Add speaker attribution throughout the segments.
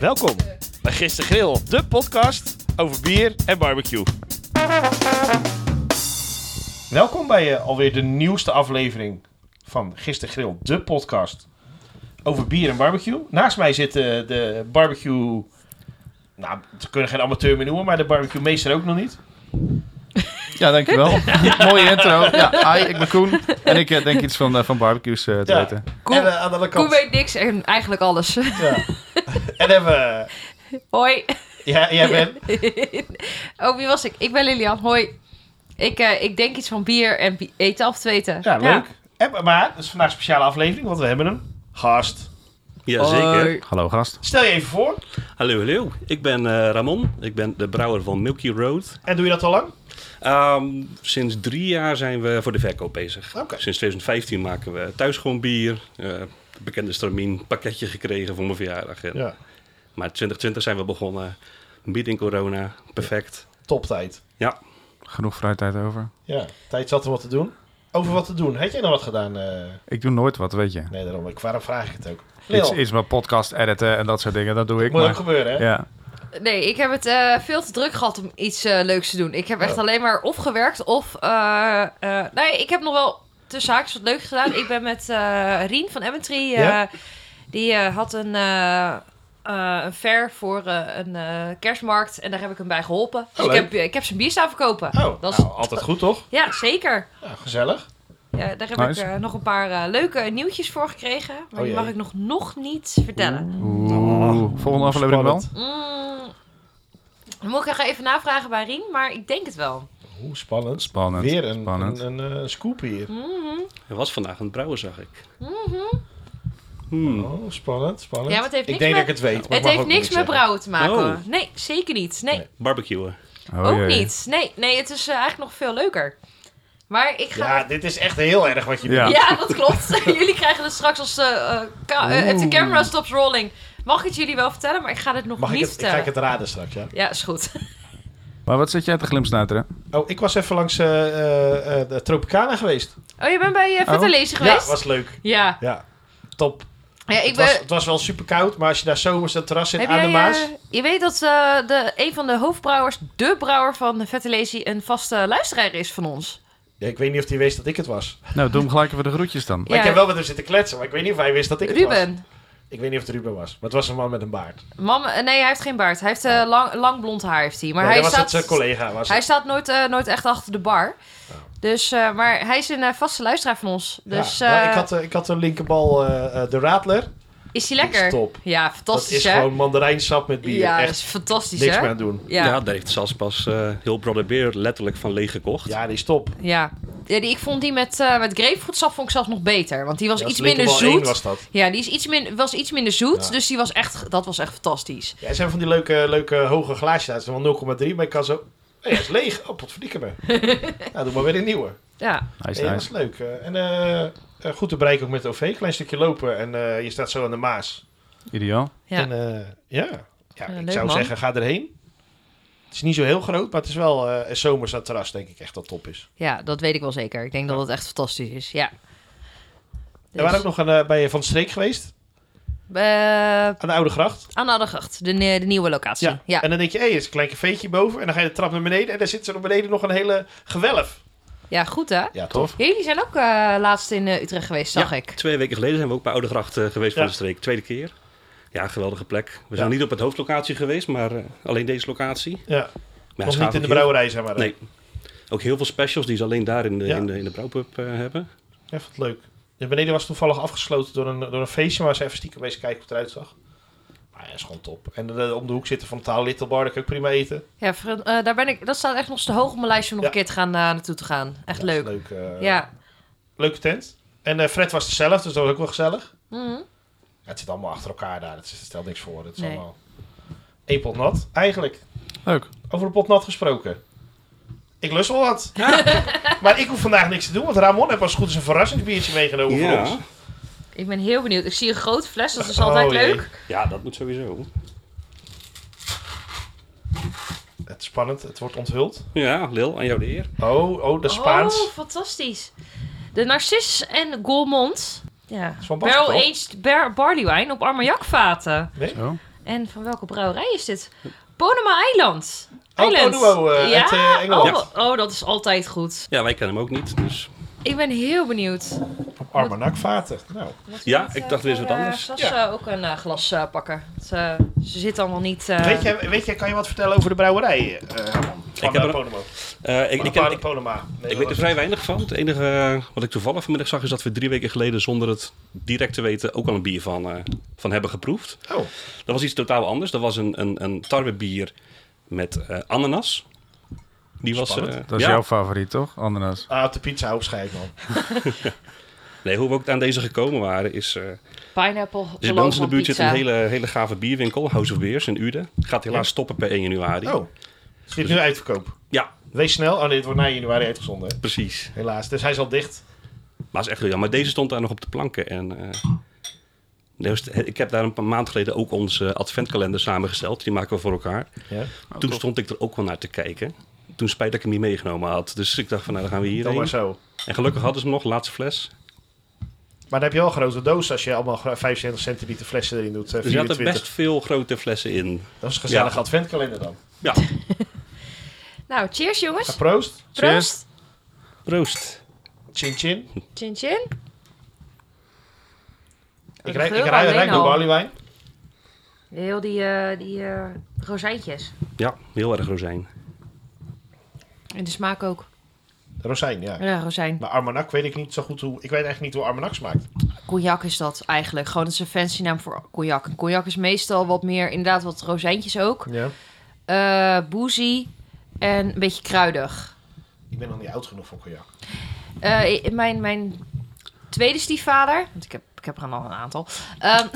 Speaker 1: Welkom bij Gisteren Grill, de podcast over bier en barbecue. Welkom bij eh, alweer de nieuwste aflevering van Gisteren Grill, de podcast over bier en barbecue. Naast mij zit eh, de barbecue... Nou, we kunnen geen amateur meer noemen, maar de barbecue meester ook nog niet.
Speaker 2: Ja, dankjewel. Mooie intro. Ja, hi, ik ben Koen. En ik eh, denk iets van, eh, van barbecues eh, te
Speaker 1: Ja.
Speaker 2: weten.
Speaker 1: En
Speaker 3: Koen,
Speaker 1: eh, aan de andere
Speaker 3: Koen
Speaker 1: kant...
Speaker 3: weet niks en eigenlijk alles.
Speaker 1: Ja. en hebben we...
Speaker 3: Hoi.
Speaker 1: Ja, jij bent...
Speaker 3: oh, wie was ik? Ik ben Lilian. Hoi. Ik, eh, ik denk iets van bier en bi- eten af te weten.
Speaker 1: Ja, leuk. En, maar het is vandaag een speciale aflevering, want we hebben hem. Gast.
Speaker 4: Jazeker.
Speaker 3: Hoi.
Speaker 2: Hallo gast.
Speaker 1: Stel je even voor.
Speaker 4: Hallo, hallo. Ik ben eh, Ramon. Ik ben de brouwer van Milky Road.
Speaker 1: En doe je dat al lang?
Speaker 4: Ehm, sinds drie jaar zijn we voor de verkoop bezig.
Speaker 1: Oké.
Speaker 4: Sinds 2015 maken we thuis gewoon bier. Eh, het bekende Stramin pakketje gekregen voor mijn verjaardag. En-
Speaker 1: Ja.
Speaker 4: Maar 2020 zijn we begonnen. Midden in corona. Perfect.
Speaker 1: Toptijd.
Speaker 4: Ja.
Speaker 2: Genoeg fruittijd over.
Speaker 1: Ja, tijd zat om wat te doen. Over wat te doen. Had jij nog wat gedaan? eh?
Speaker 2: Ik doe nooit wat, weet je.
Speaker 1: Nee, daarom. Ik, waarom vraag ik het ook?
Speaker 2: Iets,
Speaker 1: Lil,
Speaker 2: iets met podcast editen en dat soort dingen, dat doe ik
Speaker 1: moet ook
Speaker 2: maar.
Speaker 1: gebeuren, hè?
Speaker 2: Ja.
Speaker 3: Nee, ik heb het eh, veel te druk gehad om iets eh, leuks te doen. Ik heb
Speaker 1: Oh.
Speaker 3: echt alleen maar of gewerkt of... eh, eh, nee, ik heb nog wel tussen haakjes wat leuks gedaan. Ik ben met eh, Rien van Emmentry. eh,
Speaker 1: Ja.
Speaker 3: Die eh, had een, eh, eh, een fair voor eh, een eh, kerstmarkt. En daar heb ik hem bij geholpen. Dus ik
Speaker 1: Oh, leuk.
Speaker 3: heb, ik heb zijn bier staan verkopen.
Speaker 1: Oh,
Speaker 3: Dat is-
Speaker 1: nou, altijd goed, toch?
Speaker 3: Ja, zeker.
Speaker 1: Ja, gezellig.
Speaker 3: Ja, daar heb
Speaker 2: Nice.
Speaker 3: ik eh, nog een paar eh, leuke nieuwtjes voor gekregen. Maar
Speaker 1: Oh
Speaker 3: die
Speaker 1: jee.
Speaker 3: mag ik nog, nog niet vertellen.
Speaker 2: Oeh, volgende aflevering wel.
Speaker 1: Spannend.
Speaker 3: Mm, dan moet ik nog even navragen bij Rien, maar ik denk het wel.
Speaker 1: Oeh, spannend.
Speaker 2: Spannend.
Speaker 1: Weer een,
Speaker 2: spannend.
Speaker 1: een, een, eh, scoop hier.
Speaker 3: Mhm.
Speaker 4: Er was vandaag een brouwer, zag ik. Hmm.
Speaker 1: Oh, spannend, spannend.
Speaker 3: Ja, maar het heeft
Speaker 1: ik
Speaker 3: niks
Speaker 1: denk
Speaker 3: met-
Speaker 1: dat ik het weet. Maar
Speaker 3: Het heeft niks met
Speaker 1: brouw.
Speaker 3: brouwen te maken.
Speaker 4: Oh.
Speaker 3: hoor. Nee, zeker niet. Nee,
Speaker 1: Nee.
Speaker 4: Barbecuen.
Speaker 2: Oh,
Speaker 3: ook
Speaker 2: jee.
Speaker 3: niet. Nee, nee, het is eh, eigenlijk nog veel leuker. Maar ik ga...
Speaker 1: Ja, dit is echt heel erg wat je
Speaker 2: Ja.
Speaker 1: doet.
Speaker 3: Ja, dat klopt. Jullie krijgen het straks als eh, de the camera stops rolling. Mag ik het jullie wel vertellen, maar ik ga dit nog
Speaker 1: Mag ik
Speaker 3: niet
Speaker 1: het, ik ga
Speaker 3: vertellen.
Speaker 1: ik het raden straks, ja?
Speaker 3: Ja, is goed.
Speaker 2: Maar wat zit jij te glimsnuiteren?
Speaker 1: Oh, ik was even langs eh, eh, eh, de Tropicana geweest.
Speaker 3: Oh, je bent bij eh
Speaker 2: Oh.
Speaker 3: Vitalezen geweest?
Speaker 1: Ja, was leuk.
Speaker 3: ja.
Speaker 1: Ja, top.
Speaker 3: ja, ik
Speaker 1: Het was,
Speaker 3: ben...
Speaker 1: het was wel super koud, maar als je daar zomers het terras zit
Speaker 3: Heb
Speaker 1: aan
Speaker 3: jij,
Speaker 1: de Maas...
Speaker 3: eh, je weet dat eh, de, een van de hoofdbrouwers, de brouwer van Vettelezi, een vaste luisteraar is van ons.
Speaker 1: Ja, ik weet niet of hij wist dat ik het was. Maar
Speaker 2: Nou, doe hem gelijk even de groetjes dan.
Speaker 3: Ja.
Speaker 1: ik heb wel met hem zitten kletsen, maar ik weet niet of hij wist dat ik het was.
Speaker 3: Ruben.
Speaker 1: Ik weet niet of het Ruben was, maar het was een man met een baard.
Speaker 3: Mam, eh, nee, hij heeft geen baard. Hij heeft eh, lang, lang blond haar. Heeft hij. Maar
Speaker 1: Nee,
Speaker 3: hij,
Speaker 1: dat was
Speaker 3: staat,
Speaker 1: zijn collega. Was
Speaker 3: hij
Speaker 1: het.
Speaker 3: staat nooit, eh, nooit echt achter de bar. Dus, eh, maar hij is een eh, vaste luisteraar van ons.
Speaker 1: Ja,
Speaker 3: Dus
Speaker 1: nou,
Speaker 3: eh,
Speaker 1: ik, had, eh, ik had een linkerbal eh, eh, de Radler.
Speaker 3: is hij
Speaker 1: Die
Speaker 3: lekker?
Speaker 1: is top.
Speaker 3: Ja,
Speaker 1: Dat
Speaker 3: fantastisch
Speaker 1: is
Speaker 3: hè?
Speaker 1: gewoon mandarijnsap met bier.
Speaker 3: ja, dat
Speaker 1: Echt
Speaker 3: is fantastisch
Speaker 1: niks
Speaker 3: hè?
Speaker 1: meer aan doen.
Speaker 3: Ja.
Speaker 4: Ja.
Speaker 3: Ja.
Speaker 4: daar heeft Sas pas eh, heel Brother Beer letterlijk van leeg gekocht.
Speaker 1: Ja, die is top.
Speaker 3: Ja, die, ik vond die met, eh met grapefruitsap vond ik zelfs nog beter. Want die was
Speaker 1: Ja,
Speaker 3: iets
Speaker 1: dat is
Speaker 3: minder
Speaker 1: linkerbal één was
Speaker 3: zoet.
Speaker 1: dat.
Speaker 3: Ja, die is iets min, was iets minder zoet,
Speaker 1: Ja.
Speaker 3: dus die was echt, dat was echt fantastisch.
Speaker 1: Ja, er zijn van die leuke, leuke hoge glaasjes. uit. Het is wel 0,3, maar ik kan zo... Hé, hij is leeg. Oh, potverdikke me. nou, doe maar weer een nieuwe.
Speaker 3: Ja,
Speaker 2: Nice,
Speaker 1: Ja, dat
Speaker 2: nice.
Speaker 1: is leuk. Eh, en eh, eh, goed te bereiken ook met de OV. Klein stukje lopen en eh, je staat zo aan de Maas.
Speaker 2: Ideaal.
Speaker 3: ja.
Speaker 1: En, eh, ja. ja
Speaker 3: Ja,
Speaker 1: ik
Speaker 3: leuk,
Speaker 1: zou
Speaker 3: man.
Speaker 1: zeggen, ga erheen. Het is niet zo heel groot, maar het is wel eh, een zomers aan het terras, denk ik, echt dat top is.
Speaker 3: ja, dat weet ik wel zeker. Ik denk dat het echt fantastisch is, ja.
Speaker 1: We
Speaker 3: dus-
Speaker 1: waren ook nog aan, eh, bij Van de Streek geweest,
Speaker 3: Eh,
Speaker 1: aan de Oude Gracht.
Speaker 3: aan de Addergracht, de, ne- de nieuwe locatie. Ja, ja.
Speaker 1: En dan denk je, hé, er is een klein cafeetje boven. En dan ga je de trap naar beneden en daar zit zo naar beneden nog een hele gewelf.
Speaker 3: goed hè?
Speaker 1: Ja,
Speaker 2: Tof.
Speaker 3: Jullie zijn ook eh, laatst in eh, Utrecht geweest, zag
Speaker 4: Ja,
Speaker 3: ik.
Speaker 4: Twee weken geleden zijn we ook bij Oude Gracht eh, geweest
Speaker 1: Ja.
Speaker 4: van de streek. Tweede keer. Ja, geweldige plek. We zijn
Speaker 1: Ja.
Speaker 4: niet op het hoofdlocatie geweest, maar eh, alleen deze locatie. Maar
Speaker 1: Ja,
Speaker 4: ja,
Speaker 1: nog
Speaker 4: schaaf
Speaker 1: niet in de
Speaker 4: ook
Speaker 1: brouwerij, zeg maar.
Speaker 4: heel- Nee. Ook heel veel specials die ze alleen daar in de,
Speaker 1: Ja.
Speaker 4: in de, in de brouwpub eh, hebben.
Speaker 1: Ja, vond het leuk. De beneden was toevallig afgesloten door een, door een feestje, maar ze even stiekem bezig kijken hoe het eruit zag. Maar ja, is gewoon top. En eh, om de hoek zitten van Taal Little Bar, daar kan ik prima eten.
Speaker 3: Ja, vriend, eh, daar ben ik, dat staat echt nog te hoog op mijn lijstje om nog
Speaker 1: Ja.
Speaker 3: een keer te gaan, eh, naartoe te gaan. Echt
Speaker 1: Ja,
Speaker 3: leuk.
Speaker 1: is Leuk, eh,
Speaker 3: Ja.
Speaker 1: Leuke tent. En eh, Fred was er zelf, dus dat was ook wel gezellig.
Speaker 3: Mhm.
Speaker 1: Ja, het zit allemaal achter elkaar daar, het, is- het stelt niks voor. Het is
Speaker 3: Nee.
Speaker 1: allemaal één pot nat. Eigenlijk,
Speaker 2: Leuk.
Speaker 1: over een pot nat gesproken. Ik lust wel wat. maar ik hoef vandaag niks te doen, want Ramon heeft als goed is een verrassingsbiertje meegenomen voor ons.
Speaker 4: Ja.
Speaker 3: Ik ben heel benieuwd. Ik zie een grote fles, dat is altijd
Speaker 1: Oh, jee.
Speaker 3: leuk.
Speaker 4: ja, dat moet sowieso.
Speaker 1: Het is spannend, het wordt onthuld.
Speaker 4: Ja, Lil, aan jou de eer.
Speaker 1: Oh, oh, de Spaans.
Speaker 3: Oh, fantastisch. De Narcissus en Gourmond. Ja.
Speaker 1: is van Basco,
Speaker 3: Barrel
Speaker 1: toch?
Speaker 3: aged bar barley wine op armagnacvaten.
Speaker 1: Nee?
Speaker 2: Zo.
Speaker 3: En van welke brouwerij is dit? Bonema Eiland.
Speaker 1: Oh,
Speaker 3: Island.
Speaker 1: Bono, eh, uit, eh, Engeland.
Speaker 3: Oh, oh, dat is altijd goed.
Speaker 4: Ja, wij kennen hem ook niet. Dus
Speaker 3: Ik ben heel benieuwd.
Speaker 1: Op armanakvaten. Nou,
Speaker 3: Moeten we
Speaker 4: Ja,
Speaker 3: niet,
Speaker 4: ik
Speaker 3: eh,
Speaker 4: dacht weer eens
Speaker 3: voor,
Speaker 4: wat
Speaker 3: eh,
Speaker 4: anders.
Speaker 3: Sas,
Speaker 1: Ja.
Speaker 3: eh, ook een eh, glas eh, pakken. Het, eh, ze zit allemaal niet... eh,
Speaker 1: weet, je, weet je, kan je wat vertellen over de brouwerij? eh, Herman? van eh,
Speaker 4: heb er-
Speaker 1: Ponemo.
Speaker 4: eh, ik,
Speaker 1: Van
Speaker 4: ik,
Speaker 1: de
Speaker 4: ken,
Speaker 1: Pale- Ponema. Nee,
Speaker 4: Ik
Speaker 1: dat
Speaker 4: weet er
Speaker 1: was-
Speaker 4: vrij weinig van. Het enige eh, wat ik toevallig vanmiddag zag is dat we drie weken geleden zonder het direct te weten ook al een bier van, eh, van hebben geproefd.
Speaker 1: Oh,
Speaker 4: Dat was iets totaal anders. Dat was een, een, een tarwebier met eh, ananas. Die was,
Speaker 1: Spannend.
Speaker 4: eh,
Speaker 2: Dat is
Speaker 4: ja.
Speaker 2: jouw favoriet, toch? Ananas.
Speaker 1: ah, op de pizza opschrijf man.
Speaker 4: Nee, hoe we ook aan deze gekomen waren is... eh, er
Speaker 3: Pineapple.
Speaker 4: is bij ons in de buurt zit een hele, hele gave bierwinkel, House of Beers in Uden. Gaat helaas stoppen per 1 januari.
Speaker 1: Oh, is dit nu uitverkoop?
Speaker 4: Ja,
Speaker 1: Wees snel. Oh nee, dit wordt na januari uitgezonden. hè?
Speaker 4: precies.
Speaker 1: Helaas. Dus hij is al dicht.
Speaker 4: Maar dat is echt heel jammer. Maar deze stond daar nog op de planken. En, eh, dus ik heb daar een paar maand geleden ook onze eh, adventkalender samengesteld. Die maken we voor elkaar.
Speaker 1: Ja.
Speaker 4: Toen stond ik er ook wel naar te kijken. Toen spijt dat ik hem niet meegenomen had. Dus ik dacht van, nou, dan gaan we
Speaker 1: Dan maar
Speaker 4: hierheen.
Speaker 1: zo.
Speaker 4: En gelukkig hadden ze hem nog, laatste fles.
Speaker 1: Maar dan heb je wel een grote doos als je allemaal gra- 75 centiliter flessen erin doet. eh,
Speaker 4: Dus je had er
Speaker 1: 24.
Speaker 4: best veel grote flessen in.
Speaker 1: Dat is een gezellige
Speaker 4: Ja.
Speaker 1: adventkalender dan.
Speaker 4: Ja,
Speaker 3: Nou, cheers jongens.
Speaker 1: Ah, proost.
Speaker 3: Proost.
Speaker 4: proost.
Speaker 1: Chin chin.
Speaker 3: Chin chin.
Speaker 1: Ik
Speaker 3: Ik
Speaker 1: rijk,
Speaker 3: geur
Speaker 1: ik rij,
Speaker 3: alleen
Speaker 1: rijk de
Speaker 3: al.
Speaker 1: barleywijn.
Speaker 3: Heel die, eh, die eh, rozijntjes.
Speaker 4: Ja, heel erg rozijn.
Speaker 3: En de smaak ook.
Speaker 1: Rozijn, ja.
Speaker 3: Ja, rozijn.
Speaker 1: Maar Armanak weet ik niet zo goed hoe... Ik weet eigenlijk niet hoe Armanak smaakt.
Speaker 3: Cognac is dat eigenlijk. Gewoon, het is een fancy naam voor cognac. En Cognac is meestal wat meer, inderdaad, wat rozijntjes ook.
Speaker 1: Ja.
Speaker 3: Eh boozy en een beetje kruidig.
Speaker 1: Ik ben nog niet oud genoeg voor cognac.
Speaker 3: Eh, i- mijn, mijn tweede stiefvader, want ik heb, ik heb er al een aantal, ehm,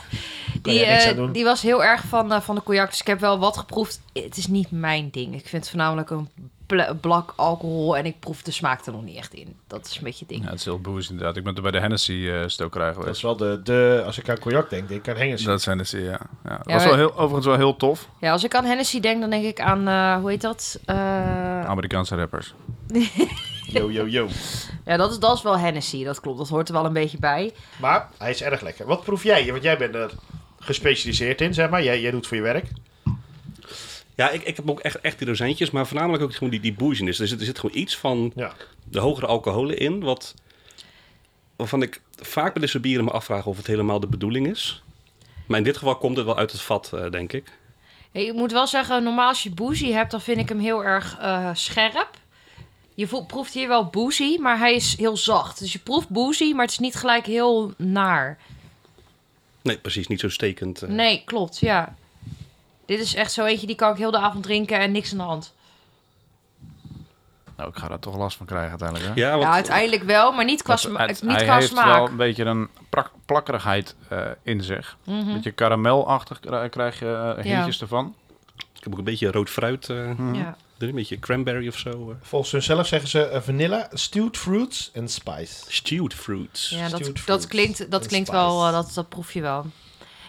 Speaker 3: die,
Speaker 1: jij niks aan
Speaker 3: eh,
Speaker 1: doen.
Speaker 3: die was heel erg van, eh, van de cognac. Dus ik heb wel wat geproefd. Het is niet mijn ding. Ik vind het voornamelijk een bla- blak alcohol en ik proef de smaak er nog niet echt in. Dat is een beetje het ding.
Speaker 2: Ja, het is heel boos inderdaad. Ik ben er bij de Hennessy-stokerij
Speaker 1: Dat is
Speaker 2: geweest.
Speaker 1: wel de... de als ik aan cognac denk, denk ik aan Hengers.
Speaker 2: Dat zijn de ja. ja. Dat
Speaker 3: Ja,
Speaker 2: was
Speaker 3: maar-
Speaker 2: wel heel, overigens wel heel tof.
Speaker 3: Ja, als ik aan Hennessy denk, dan denk ik aan, eh, hoe heet dat? Eh,
Speaker 2: Amerikaanse rappers.
Speaker 1: Yo, yo, yo.
Speaker 3: Ja, dat is, dat is wel Hennessy, dat klopt. Dat hoort er wel een beetje bij.
Speaker 1: Maar hij is erg lekker. Wat proef jij? Want jij bent er gespecialiseerd in, zeg maar. Jij, jij doet voor je werk.
Speaker 4: Ja, ik, ik heb ook echt, echt die rozijntjes, maar voornamelijk ook gewoon die, die boezienis. Er zit, er zit gewoon iets van
Speaker 1: Ja.
Speaker 4: de hogere alcoholen in, wat, waarvan ik vaak bij dit soort bieren me afvraag of het helemaal de bedoeling is. Maar in dit geval komt het wel uit het vat, eh, denk ik.
Speaker 3: Ik moet wel zeggen, normaal als je boozy hebt, dan vind ik hem heel erg eh, scherp. Je voelt, proeft hier wel boozy, maar hij is heel zacht. Dus je proeft boozy, maar het is niet gelijk heel naar.
Speaker 4: Nee, precies, niet zo stekend. eh.
Speaker 3: Nee, klopt, ja. Dit is echt zo eentje, die kan ik heel de avond drinken en niks aan de hand.
Speaker 2: Nou, ik ga daar toch last van krijgen uiteindelijk. Hè?
Speaker 4: Ja, want,
Speaker 3: Ja, uiteindelijk wel, maar niet qua,
Speaker 2: Want
Speaker 3: sma-
Speaker 2: het-
Speaker 3: niet
Speaker 2: hij
Speaker 3: qua
Speaker 2: heeft
Speaker 3: smaak.
Speaker 2: wel een beetje een prak- plakkerigheid eh, in zich. Een beetje karamelachtig kri- krijg je eh,
Speaker 3: Mhm. Ja.
Speaker 2: hintjes ervan.
Speaker 4: Ik heb ook een beetje rood fruit eh,
Speaker 3: Ja.
Speaker 4: erin, een beetje cranberry of zo. eh.
Speaker 1: Volgens hunzelf zeggen ze eh, vanilla, stewed fruits en spice.
Speaker 4: Stewed fruits.
Speaker 3: Ja, dat,
Speaker 1: Stewed fruits
Speaker 3: dat klinkt, dat
Speaker 1: en
Speaker 3: klinkt
Speaker 1: spice.
Speaker 3: wel, eh, dat, dat proef je wel.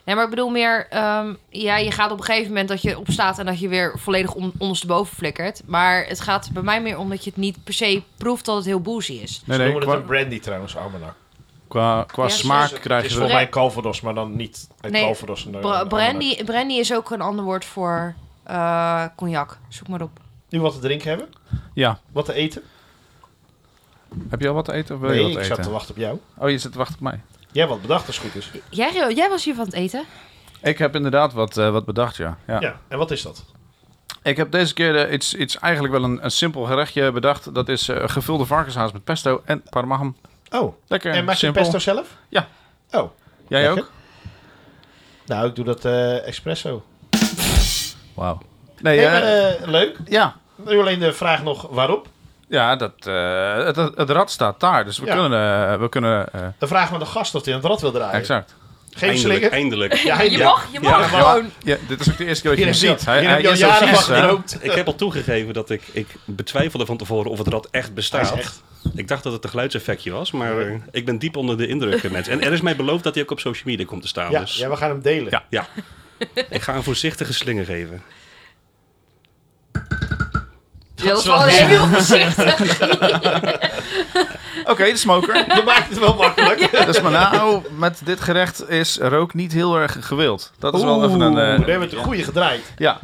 Speaker 3: Nee, maar ik bedoel meer, ehm, ja, je gaat op een gegeven moment dat je opstaat en dat je weer volledig on, ondersteboven flikkert. Maar het gaat bij mij meer om dat je het niet per se proeft dat het heel boozy is.
Speaker 2: Nee,
Speaker 1: ze
Speaker 2: nee,
Speaker 1: noemen
Speaker 2: qua,
Speaker 1: het een brandy trouwens, Armanak.
Speaker 2: qua, qua
Speaker 3: Ja, ze-
Speaker 2: smaak
Speaker 1: Het
Speaker 2: krijg
Speaker 1: is
Speaker 2: je
Speaker 1: volgens
Speaker 2: wel.
Speaker 1: mij Calvados, maar dan niet uit
Speaker 3: Nee,
Speaker 1: Calvados. en, eh,
Speaker 3: Bra-
Speaker 1: Armanak.
Speaker 3: brandy, brandy is ook een ander woord voor eh, cognac. Zoek maar op.
Speaker 1: Nu wat te drinken hebben,
Speaker 2: Ja.
Speaker 1: wat te eten.
Speaker 2: Heb je al wat te eten of wil
Speaker 1: nee,
Speaker 2: je
Speaker 1: ik
Speaker 2: wat
Speaker 1: zat te
Speaker 2: eten?
Speaker 1: wachten op jou.
Speaker 2: Oh, je zit te wachten op mij.
Speaker 1: Jij wat bedacht als het goed is.
Speaker 3: Jij, jij was hier van het eten?
Speaker 2: Ik heb inderdaad wat, eh, wat bedacht, ja. ja.
Speaker 1: Ja. en wat is dat?
Speaker 2: Ik heb deze keer eh, iets, iets eigenlijk wel een, een simpel gerechtje bedacht. Dat is eh, gevulde varkenshaas met pesto en parmaham.
Speaker 1: Oh,
Speaker 2: Lekker
Speaker 1: en maak je
Speaker 2: simpel.
Speaker 1: pesto zelf?
Speaker 2: Ja.
Speaker 1: Oh,
Speaker 2: Jij
Speaker 1: Lekker.
Speaker 2: ook?
Speaker 1: nou, ik doe dat eh, espresso.
Speaker 2: Wauw. Nee,
Speaker 1: Hey,
Speaker 2: eh,
Speaker 1: maar, eh, leuk.
Speaker 2: ja.
Speaker 1: Nu alleen de vraag nog waarop.
Speaker 2: Ja, dat, eh, het, het rad staat daar. Dus we
Speaker 1: Ja.
Speaker 2: kunnen... eh, we kunnen eh,
Speaker 1: Dan vragen we de gast of hij aan het rad wil draaien.
Speaker 2: exact.
Speaker 1: Geen
Speaker 4: Eindelijk,
Speaker 1: slinger.
Speaker 4: eindelijk.
Speaker 1: Ja, hij-
Speaker 3: je
Speaker 1: ja.
Speaker 3: mag, je mag
Speaker 4: Ja.
Speaker 3: gewoon.
Speaker 2: Ja, dit is ook de eerste keer dat je
Speaker 1: Hier
Speaker 2: hem
Speaker 1: heb je al-
Speaker 2: ziet. Hij,
Speaker 1: hier heb
Speaker 2: hij
Speaker 1: je al
Speaker 2: is eh, zo
Speaker 1: jaren
Speaker 2: vies,
Speaker 1: van
Speaker 2: hè?
Speaker 1: gerookt.
Speaker 4: Ik heb al toegegeven dat ik, ik betwijfelde van tevoren of het rad echt bestaat.
Speaker 1: Hij is echt-
Speaker 4: Ik dacht dat het een geluidseffectje was, maar eh, ik ben diep onder de indruk, eh, mensen. En er is mij beloofd dat hij ook op social media komt te staan.
Speaker 1: Ja,
Speaker 4: dus
Speaker 1: ja, we gaan hem delen.
Speaker 2: Ja.
Speaker 4: ja. ik ga een voorzichtige slinger geven.
Speaker 3: Ja, dat is
Speaker 1: wel
Speaker 3: wel
Speaker 1: heel-
Speaker 3: heel voorzichtig.
Speaker 2: Oké, de smoker.
Speaker 1: Je maakt het wel makkelijk.
Speaker 2: Dus maar nou, met dit gerecht is rook niet heel erg gewild. Dat is wel even een...
Speaker 1: Oeh,
Speaker 2: eh,
Speaker 1: daar hebben we het goede gedraaid.
Speaker 2: ja.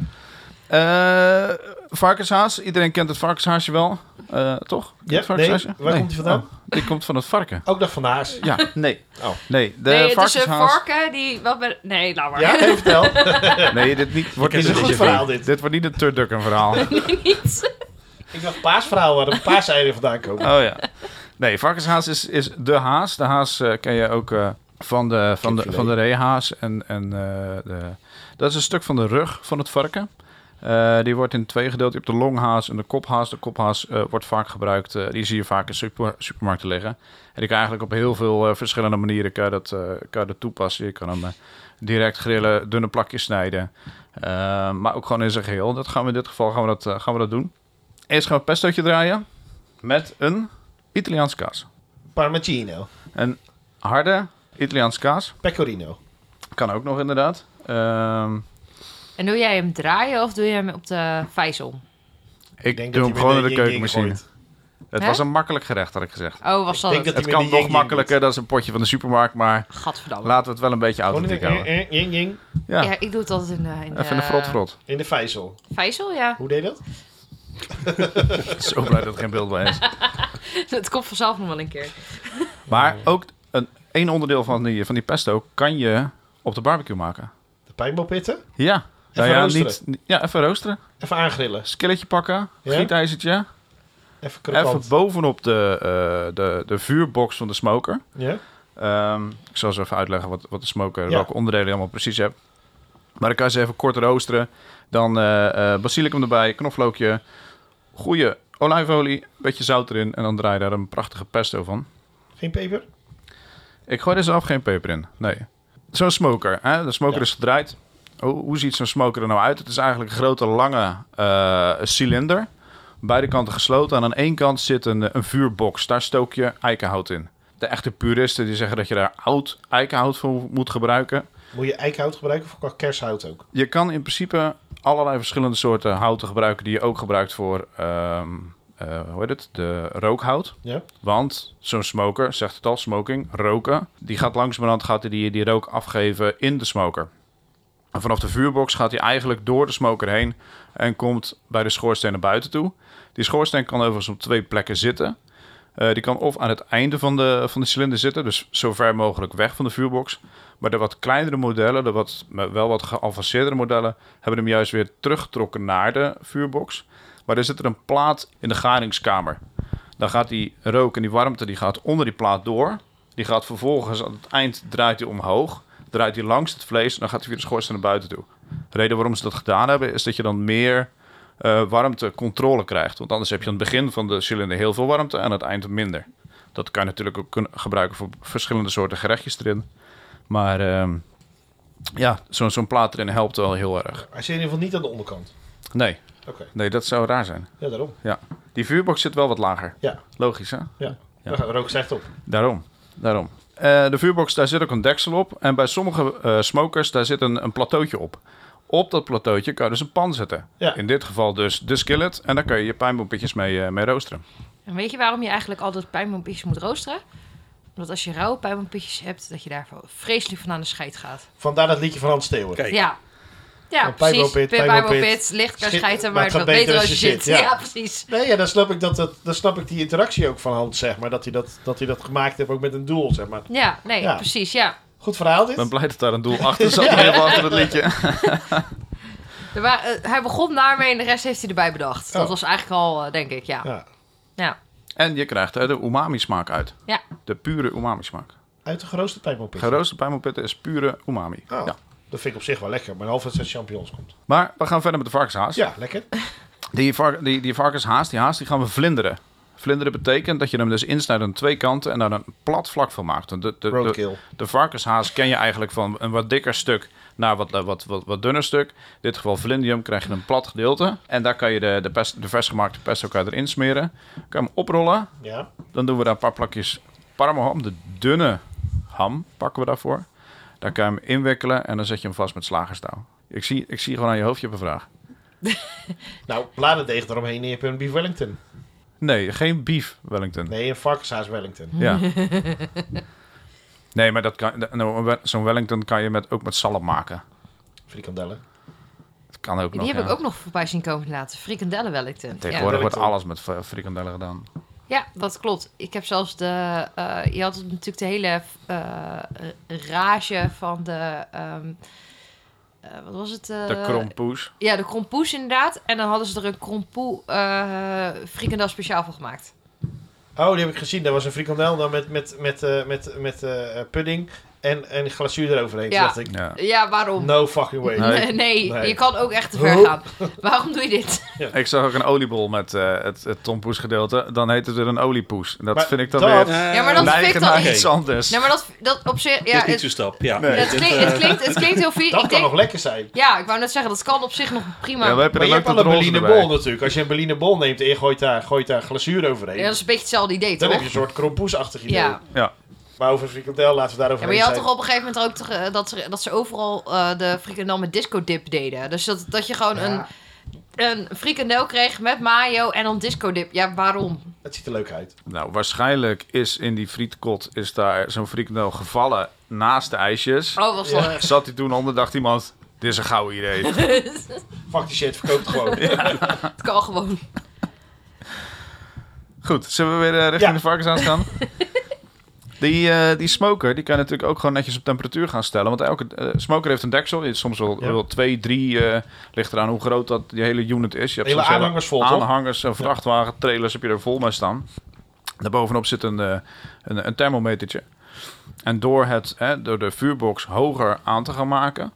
Speaker 2: Eh, varkenshaas. Iedereen kent het varkenshaasje wel. Eh, toch?
Speaker 1: Ja,
Speaker 2: Het varkenshaasje?
Speaker 1: nee. Waar komt die vandaan?
Speaker 2: Oh, die komt van het varken.
Speaker 1: Ook dat van Haas.
Speaker 2: Ja, nee.
Speaker 1: Oh.
Speaker 2: Nee, de
Speaker 3: nee, het is een
Speaker 2: varkenshaas...
Speaker 3: varken die... Wat ben, nee, laat maar.
Speaker 1: Ja, even vertel.
Speaker 2: Nee, dit niet, wordt
Speaker 1: Het is
Speaker 2: niet
Speaker 1: een
Speaker 2: een
Speaker 1: goed verhaal dit.
Speaker 2: Dit wordt niet een turducken verhaal.
Speaker 3: Niet.
Speaker 1: Ik dacht paasverhaal waar de paaseieren vandaan komen.
Speaker 2: Oh ja. Nee, varkenshaas is, is de haas. De haas eh, ken je ook eh, van de, van de,
Speaker 1: Kipfilet.
Speaker 2: van de reehaas. En, en, eh, de, dat is een stuk van de rug van het varken. Eh, die wordt in twee gedeeld. Je hebt de longhaas en de kophaas. De kophaas eh, wordt vaak gebruikt. eh, die zie je vaak in super, supermarkten liggen. En die kan je eigenlijk op heel veel eh, verschillende manieren kan je dat, eh, kan je dat toepassen. Je kan hem eh, direct grillen, dunne plakjes snijden. Eh, maar ook gewoon in zijn geheel. Dat gaan we in dit geval gaan we dat, eh, gaan we dat doen. Eerst gaan we een pestootje draaien. Met een Italiaans kaas.
Speaker 1: Parmigiano.
Speaker 2: Een harde Italiaans kaas.
Speaker 1: Pecorino.
Speaker 2: Kan ook nog inderdaad. Ehm,
Speaker 3: En doe jij hem draaien of doe je hem op de vijzel?
Speaker 2: ik
Speaker 1: denk
Speaker 2: doe
Speaker 1: dat
Speaker 2: hem
Speaker 1: hij met
Speaker 2: gewoon in de
Speaker 1: yin-yang
Speaker 2: keukenmachine.
Speaker 1: gooit.
Speaker 2: Het
Speaker 3: Hè?
Speaker 2: was een makkelijk gerecht, had ik gezegd.
Speaker 3: Oh, was dat
Speaker 1: denk dat-
Speaker 2: Het
Speaker 3: het?
Speaker 1: hij met
Speaker 2: kan
Speaker 1: die
Speaker 2: nog
Speaker 1: yin-yang
Speaker 2: makkelijker, dat is een potje van de supermarkt, maar
Speaker 3: Gadverdamme.
Speaker 2: laten we het wel een beetje
Speaker 1: Gewoon in
Speaker 2: authentiek
Speaker 1: de,
Speaker 2: houden.
Speaker 1: eh, eh, ying, ying.
Speaker 2: Ja,
Speaker 3: Ja, ik doe het altijd in de... In
Speaker 2: even een
Speaker 3: eh,
Speaker 2: frot-frot.
Speaker 1: in de vijzel.
Speaker 3: Vijzel, ja.
Speaker 1: Hoe deed dat?
Speaker 2: Zo blij dat er geen beeld bij is.
Speaker 3: Het komt vanzelf nog wel een keer.
Speaker 2: Maar ook een, één onderdeel van die, van die pesto kan je op de barbecue maken.
Speaker 1: De pijnbalpitten.
Speaker 2: Ja.
Speaker 1: Even
Speaker 2: ja,
Speaker 1: roosteren.
Speaker 2: niet, niet- ja, even roosteren.
Speaker 1: Even aangrillen.
Speaker 2: Skilletje pakken,
Speaker 1: Ja?
Speaker 2: gietijzertje.
Speaker 1: Even
Speaker 2: Even
Speaker 1: krokant.
Speaker 2: bovenop de, eh, de, de vuurbox van de smoker.
Speaker 1: Ja?
Speaker 2: Ehm, ik zal zo even uitleggen wat, wat de smoker,
Speaker 1: Ja.
Speaker 2: welke onderdelen je allemaal precies hebt. Maar dan kan je ze even kort roosteren. Dan eh, eh, basilicum erbij, knoflookje, goede olijfolie, een beetje zout erin. En dan draai je daar een prachtige pesto van.
Speaker 1: Geen peper?
Speaker 2: Ik gooi er zelf geen peper in, nee. Zo'n smoker, hè? de smoker
Speaker 1: Ja.
Speaker 2: is gedraaid. Hoe, hoe ziet zo'n smoker er nou uit? Het is eigenlijk een grote, lange eh, cilinder. Beide kanten gesloten. En aan één kant zit een, een vuurbox. Daar stook je eikenhout in. De echte puristen die zeggen dat je daar oud eikenhout voor moet gebruiken.
Speaker 1: Moet je eikenhout gebruiken of kershout ook?
Speaker 2: Je kan in principe allerlei verschillende soorten houten gebruiken... die je ook gebruikt voor, ehm, eh, hoe heet het, de rookhout.
Speaker 1: Ja?
Speaker 2: Want zo'n smoker, zegt het al, smoking, roken, die gaat langzamerhand gaat hij die, die rook afgeven in de smoker. En vanaf de vuurbox gaat hij eigenlijk door de smoker heen en komt bij de schoorsteen naar buiten toe. Die schoorsteen kan overigens op twee plekken zitten. Eh, die kan of aan het einde van de, van de cilinder zitten, dus zo ver mogelijk weg van de vuurbox. Maar de wat kleinere modellen, de wat, wel wat geavanceerdere modellen, hebben hem juist weer teruggetrokken naar de vuurbox. Maar er zit er een plaat in de garingskamer. Dan gaat die rook en die warmte die gaat onder die plaat door. Die gaat vervolgens aan het eind draait hij omhoog. Draait hij langs het vlees en dan gaat hij weer de schoorsteen naar buiten toe. De reden waarom ze dat gedaan hebben is dat je dan meer eh, warmtecontrole krijgt. Want anders heb je aan het begin van de cilinder heel veel warmte en aan het eind minder. Dat kan je natuurlijk ook kunnen gebruiken voor verschillende soorten gerechtjes erin. Maar ehm, ja, zo'n zo'n plaat erin helpt wel heel erg.
Speaker 1: Hij zit in ieder geval niet aan de onderkant.
Speaker 2: Nee,
Speaker 1: Oké,
Speaker 2: nee, dat zou raar zijn.
Speaker 1: ja, daarom.
Speaker 2: Die vuurbox zit wel wat lager.
Speaker 1: Ja.
Speaker 2: Logisch hè? Ja.
Speaker 1: Dan gaat de rook slecht op.
Speaker 2: Daarom, daarom. Eh, de vuurbox, daar zit ook een deksel op. En bij sommige eh, smokers, daar zit een, een plateautje op. Op dat plateautje kan je dus een pan zetten.
Speaker 1: Ja.
Speaker 2: In dit geval dus de skillet. En daar kan je je pijnboompitjes mee, eh, mee roosteren.
Speaker 3: En weet je waarom je eigenlijk altijd pijnboompitjes moet roosteren? Omdat als je rauwe pijnboompitjes hebt, dat je daar vreselijk van aan de scheid gaat.
Speaker 1: Vandaar dat liedje van Hans Steeuwen.
Speaker 4: Kijk.
Speaker 3: Ja. Ja,
Speaker 1: Een
Speaker 3: precies.
Speaker 1: pijnboompit, pijnboompit.
Speaker 3: Pijnboompit, licht kan
Speaker 1: Schiet-
Speaker 3: schijten,
Speaker 1: maar
Speaker 3: maar
Speaker 1: het
Speaker 3: het
Speaker 1: gaat
Speaker 3: gaat
Speaker 1: beter
Speaker 3: beter als je
Speaker 1: als
Speaker 3: zit.
Speaker 1: je zit, ja.
Speaker 3: Ja, precies.
Speaker 1: Nee, ja, dan snap ik dat, dat, dan snap ik die interactie ook van Hans, zeg maar. Dat hij dat, dat, hij dat gemaakt heeft ook met een doel, zeg maar.
Speaker 3: Ja, nee,
Speaker 1: Ja.
Speaker 3: precies, ja.
Speaker 1: Goed verhaal
Speaker 2: Ik
Speaker 1: dit.
Speaker 2: ben blij dat daar een doel achter zat. in ieder geval Achter het liedje.
Speaker 3: Er wa- eh, hij begon daarmee en de rest heeft hij erbij bedacht. Dat
Speaker 1: Oh.
Speaker 3: was eigenlijk al, eh, denk ik, ja.
Speaker 1: Ja.
Speaker 3: Ja.
Speaker 2: En je krijgt er de umami smaak uit.
Speaker 3: Ja.
Speaker 2: De pure umami smaak.
Speaker 1: Uit de geroosterde pijnboompit.
Speaker 2: Geroosterde pijnboompitten is pure umami.
Speaker 1: Oh,
Speaker 2: Ja.
Speaker 1: Dat vind ik op zich wel lekker. Maar half dat het uit champignons komt.
Speaker 2: Maar we gaan verder met de varkenshaas.
Speaker 1: Ja, lekker.
Speaker 2: Die, vark- die, die varkenshaas, die haas, die gaan we vlinderen. Vlinderen betekent dat je hem dus insnijdt aan twee kanten en daar een plat vlak van maakt. De, de, de,
Speaker 1: Roadkill.
Speaker 2: de varkenshaas ken je eigenlijk van een wat dikker stuk naar wat, eh, wat, wat, wat dunner stuk. In dit geval Vlindium krijg je een plat gedeelte. En daar kan je de, de, pest, de vers gemaakte pesto kan je erin smeren. Kan je hem oprollen.
Speaker 1: Ja.
Speaker 2: Dan doen we daar een paar plakjes parmeham. De dunne ham pakken we daarvoor. Dan kan je hem inwikkelen en dan zet je hem vast met slagerstouw. Ik zie, ik zie gewoon aan je hoofd, je hebt een vraag.
Speaker 1: Nou, bladerdeeg eromheen en je hebt een beef Wellington.
Speaker 2: Nee, geen beef Wellington.
Speaker 1: Nee, een varkenshaas Wellington.
Speaker 2: Ja. nee, maar dat kan, nou, zo'n Wellington kan je met, ook met salm maken.
Speaker 1: Frikandellen.
Speaker 2: Dat kan ook
Speaker 3: Die
Speaker 2: nog.
Speaker 3: heb
Speaker 2: ja.
Speaker 3: ik ook nog voorbij zien komen laten. Frikandellen Wellington. Ja.
Speaker 2: Tegenwoordig wordt
Speaker 1: Wellington.
Speaker 2: alles met fri- frikandellen gedaan.
Speaker 3: ja, dat klopt. Ik heb zelfs de... eh, je had natuurlijk de hele eh, rage van de... ehm, eh, wat was het? eh,
Speaker 2: De krompoes.
Speaker 3: Ja, de krompoes inderdaad. En dan hadden ze er een krompoe eh frikandel speciaal van gemaakt.
Speaker 1: Oh, die heb ik gezien. Dat was een frikandel dan met, met, met, eh, met, met eh, pudding en, en glazuur eroverheen.
Speaker 3: Ja.
Speaker 1: Toen dacht ik,
Speaker 2: Ja.
Speaker 3: Ja, waarom?
Speaker 1: no fucking way.
Speaker 2: Nee.
Speaker 3: Nee, nee,
Speaker 1: Nee.
Speaker 3: je kan ook echt te ver
Speaker 1: Hoe?
Speaker 3: gaan. Waarom doe je dit?
Speaker 2: Ik zag ook een oliebol met eh, het, het tompoes gedeelte. Dan heet het weer een oliepoes. Dat
Speaker 1: Maar
Speaker 2: vind ik dan
Speaker 1: dat-
Speaker 2: weer
Speaker 3: Ja, maar dat
Speaker 2: neigen
Speaker 3: vind ik dan
Speaker 2: naar
Speaker 4: niet.
Speaker 2: iets anders.
Speaker 3: Nee, maar dat, dat op zich...
Speaker 4: Ja,
Speaker 3: Ja,
Speaker 4: Eh, is niet
Speaker 3: het,
Speaker 4: zo'n stap. Ja.
Speaker 2: Nee.
Speaker 3: het, klinkt, het, klinkt, het klinkt heel vies.
Speaker 1: Dat kan
Speaker 3: Ik denk,
Speaker 1: nog lekker zijn.
Speaker 3: ja, ik wou net zeggen, dat kan op zich nog prima.
Speaker 2: Ja, we hebben
Speaker 1: Maar je
Speaker 2: er ook
Speaker 1: hebt wel
Speaker 2: dat
Speaker 1: een
Speaker 2: roze
Speaker 1: Berliner bol
Speaker 2: erbij.
Speaker 1: natuurlijk. Als je een Berliner bol neemt en je gooit daar, gooit daar glazuur overheen,
Speaker 3: Ja, dat is een beetje hetzelfde idee,
Speaker 1: dan
Speaker 3: toch?
Speaker 1: heb je een soort krompoesachtig idee.
Speaker 3: Ja.
Speaker 2: Ja.
Speaker 1: Maar over een frikandel laten we
Speaker 3: Ja,
Speaker 1: daarover
Speaker 3: maar je had
Speaker 1: zijn.
Speaker 3: toch op een gegeven moment ook toch, eh, dat, ze, dat ze overal eh, de frikandel met disco dip deden. Dus dat, dat je gewoon een,
Speaker 1: Ja,
Speaker 3: een frikandel kreeg met mayo en dan disco dip. Ja, waarom?
Speaker 1: Het ziet er leuk uit.
Speaker 2: Nou, waarschijnlijk is in die frietkot is daar zo'n frikandel gevallen naast de ijsjes.
Speaker 3: Oh, was dat leuk.
Speaker 2: Zat hij toen onder, dacht iemand, dit is een gouden idee.
Speaker 1: Fuck die shit, verkoop het gewoon.
Speaker 3: Het kan gewoon.
Speaker 2: Goed, zullen we weer eh, richting
Speaker 1: Ja.
Speaker 2: de varkens aan gaan? die, eh, die smoker, die kan je natuurlijk ook gewoon netjes op temperatuur gaan stellen. Want elke eh, smoker heeft een deksel. Je hebt soms wel,
Speaker 1: Ja.
Speaker 2: wel twee, drie, eh, ligt eraan hoe groot dat die hele unit is. Je hebt
Speaker 1: Hele
Speaker 2: soms
Speaker 1: aanhangers vol, toch?
Speaker 2: Aanhangers, en vrachtwagen, trailers heb je er vol mee staan. Daarbovenop zit een, eh, een, een thermometertje. En door, het, hè, door de vuurbox hoger aan te gaan maken...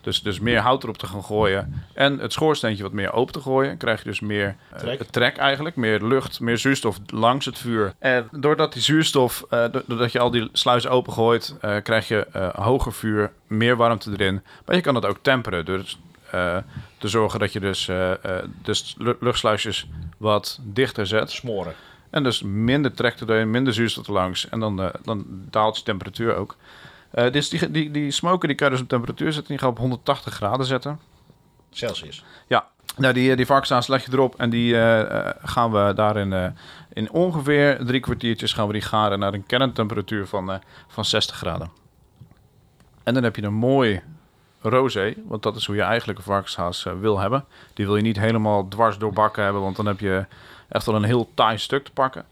Speaker 2: Dus, dus meer hout erop te gaan gooien en het schoorsteentje wat meer open te gooien, krijg je dus meer eh,
Speaker 1: Trek.
Speaker 2: trek eigenlijk. Meer lucht, meer zuurstof langs het vuur. En doordat die zuurstof, eh, do- doordat je al die sluizen opengooit, eh krijg je eh, hoger vuur, meer warmte erin. Maar je kan het ook temperen. Dus eh, te zorgen dat je dus, eh, eh, dus lu- luchtsluisjes wat dichter zet.
Speaker 1: Smoren.
Speaker 2: En dus minder trekt er doorheen, minder zuurstof langs. En dan, eh, dan daalt je temperatuur ook. Eh dus die, die, die smoker die kan je dus op temperatuur zetten. Die ga je op 180 graden zetten.
Speaker 1: Celsius.
Speaker 2: Ja, nou, die, eh, die varkenshaas leg je erop. En die eh, eh, gaan we daarin eh, in ongeveer drie kwartiertjes gaan we die garen naar een kerntemperatuur van, eh, van 60 graden. En dan heb je een mooi rosé. Want dat is hoe je eigenlijk een varkenshaas eh, wil hebben. Die wil je niet helemaal dwars doorbakken hebben. Want dan heb je echt wel een heel taai stuk te pakken.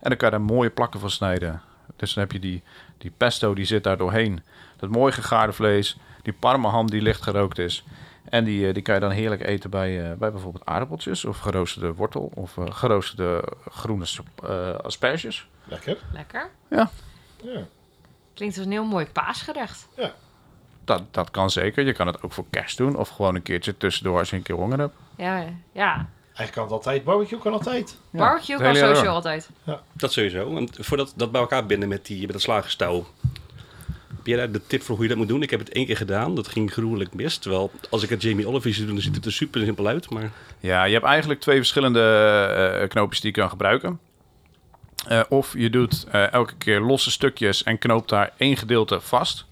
Speaker 2: En dan kan je daar mooie plakken van snijden. Dus dan heb je die, die pesto die zit daar doorheen. Dat mooi gegaarde vlees. Die parmaham die licht gerookt is. En die, eh, die kan je dan heerlijk eten bij, eh, bij bijvoorbeeld aardappeltjes. Of geroosterde wortel. Of eh, geroosterde groene sap- eh, asperges.
Speaker 1: Lekker.
Speaker 3: Lekker.
Speaker 1: Ja.
Speaker 3: Klinkt als een heel mooi paasgerecht.
Speaker 2: Dat, dat kan zeker. Je kan het ook voor kerst doen. Of gewoon een keertje tussendoor als je een keer honger hebt.
Speaker 3: Ja, ja.
Speaker 1: Eigenlijk kan het altijd. Barbecue kan altijd.
Speaker 2: Ja,
Speaker 3: Barbecue
Speaker 2: het
Speaker 3: kan
Speaker 2: hele jaar
Speaker 3: sowieso
Speaker 2: door.
Speaker 3: altijd.
Speaker 4: Dat sowieso. En voordat dat bij elkaar binden met, die, met dat slagerstouw. Heb jij daar de tip voor hoe je dat moet doen? Ik heb het één keer gedaan. Dat ging gruwelijk mis. Terwijl, als ik het Jamie Oliver zie doen, dan ziet het er super simpel uit. Maar
Speaker 2: Ja, je hebt eigenlijk twee verschillende eh, knoopjes die je kan gebruiken. Eh, of je doet eh, elke keer losse stukjes en knoopt daar één gedeelte vast.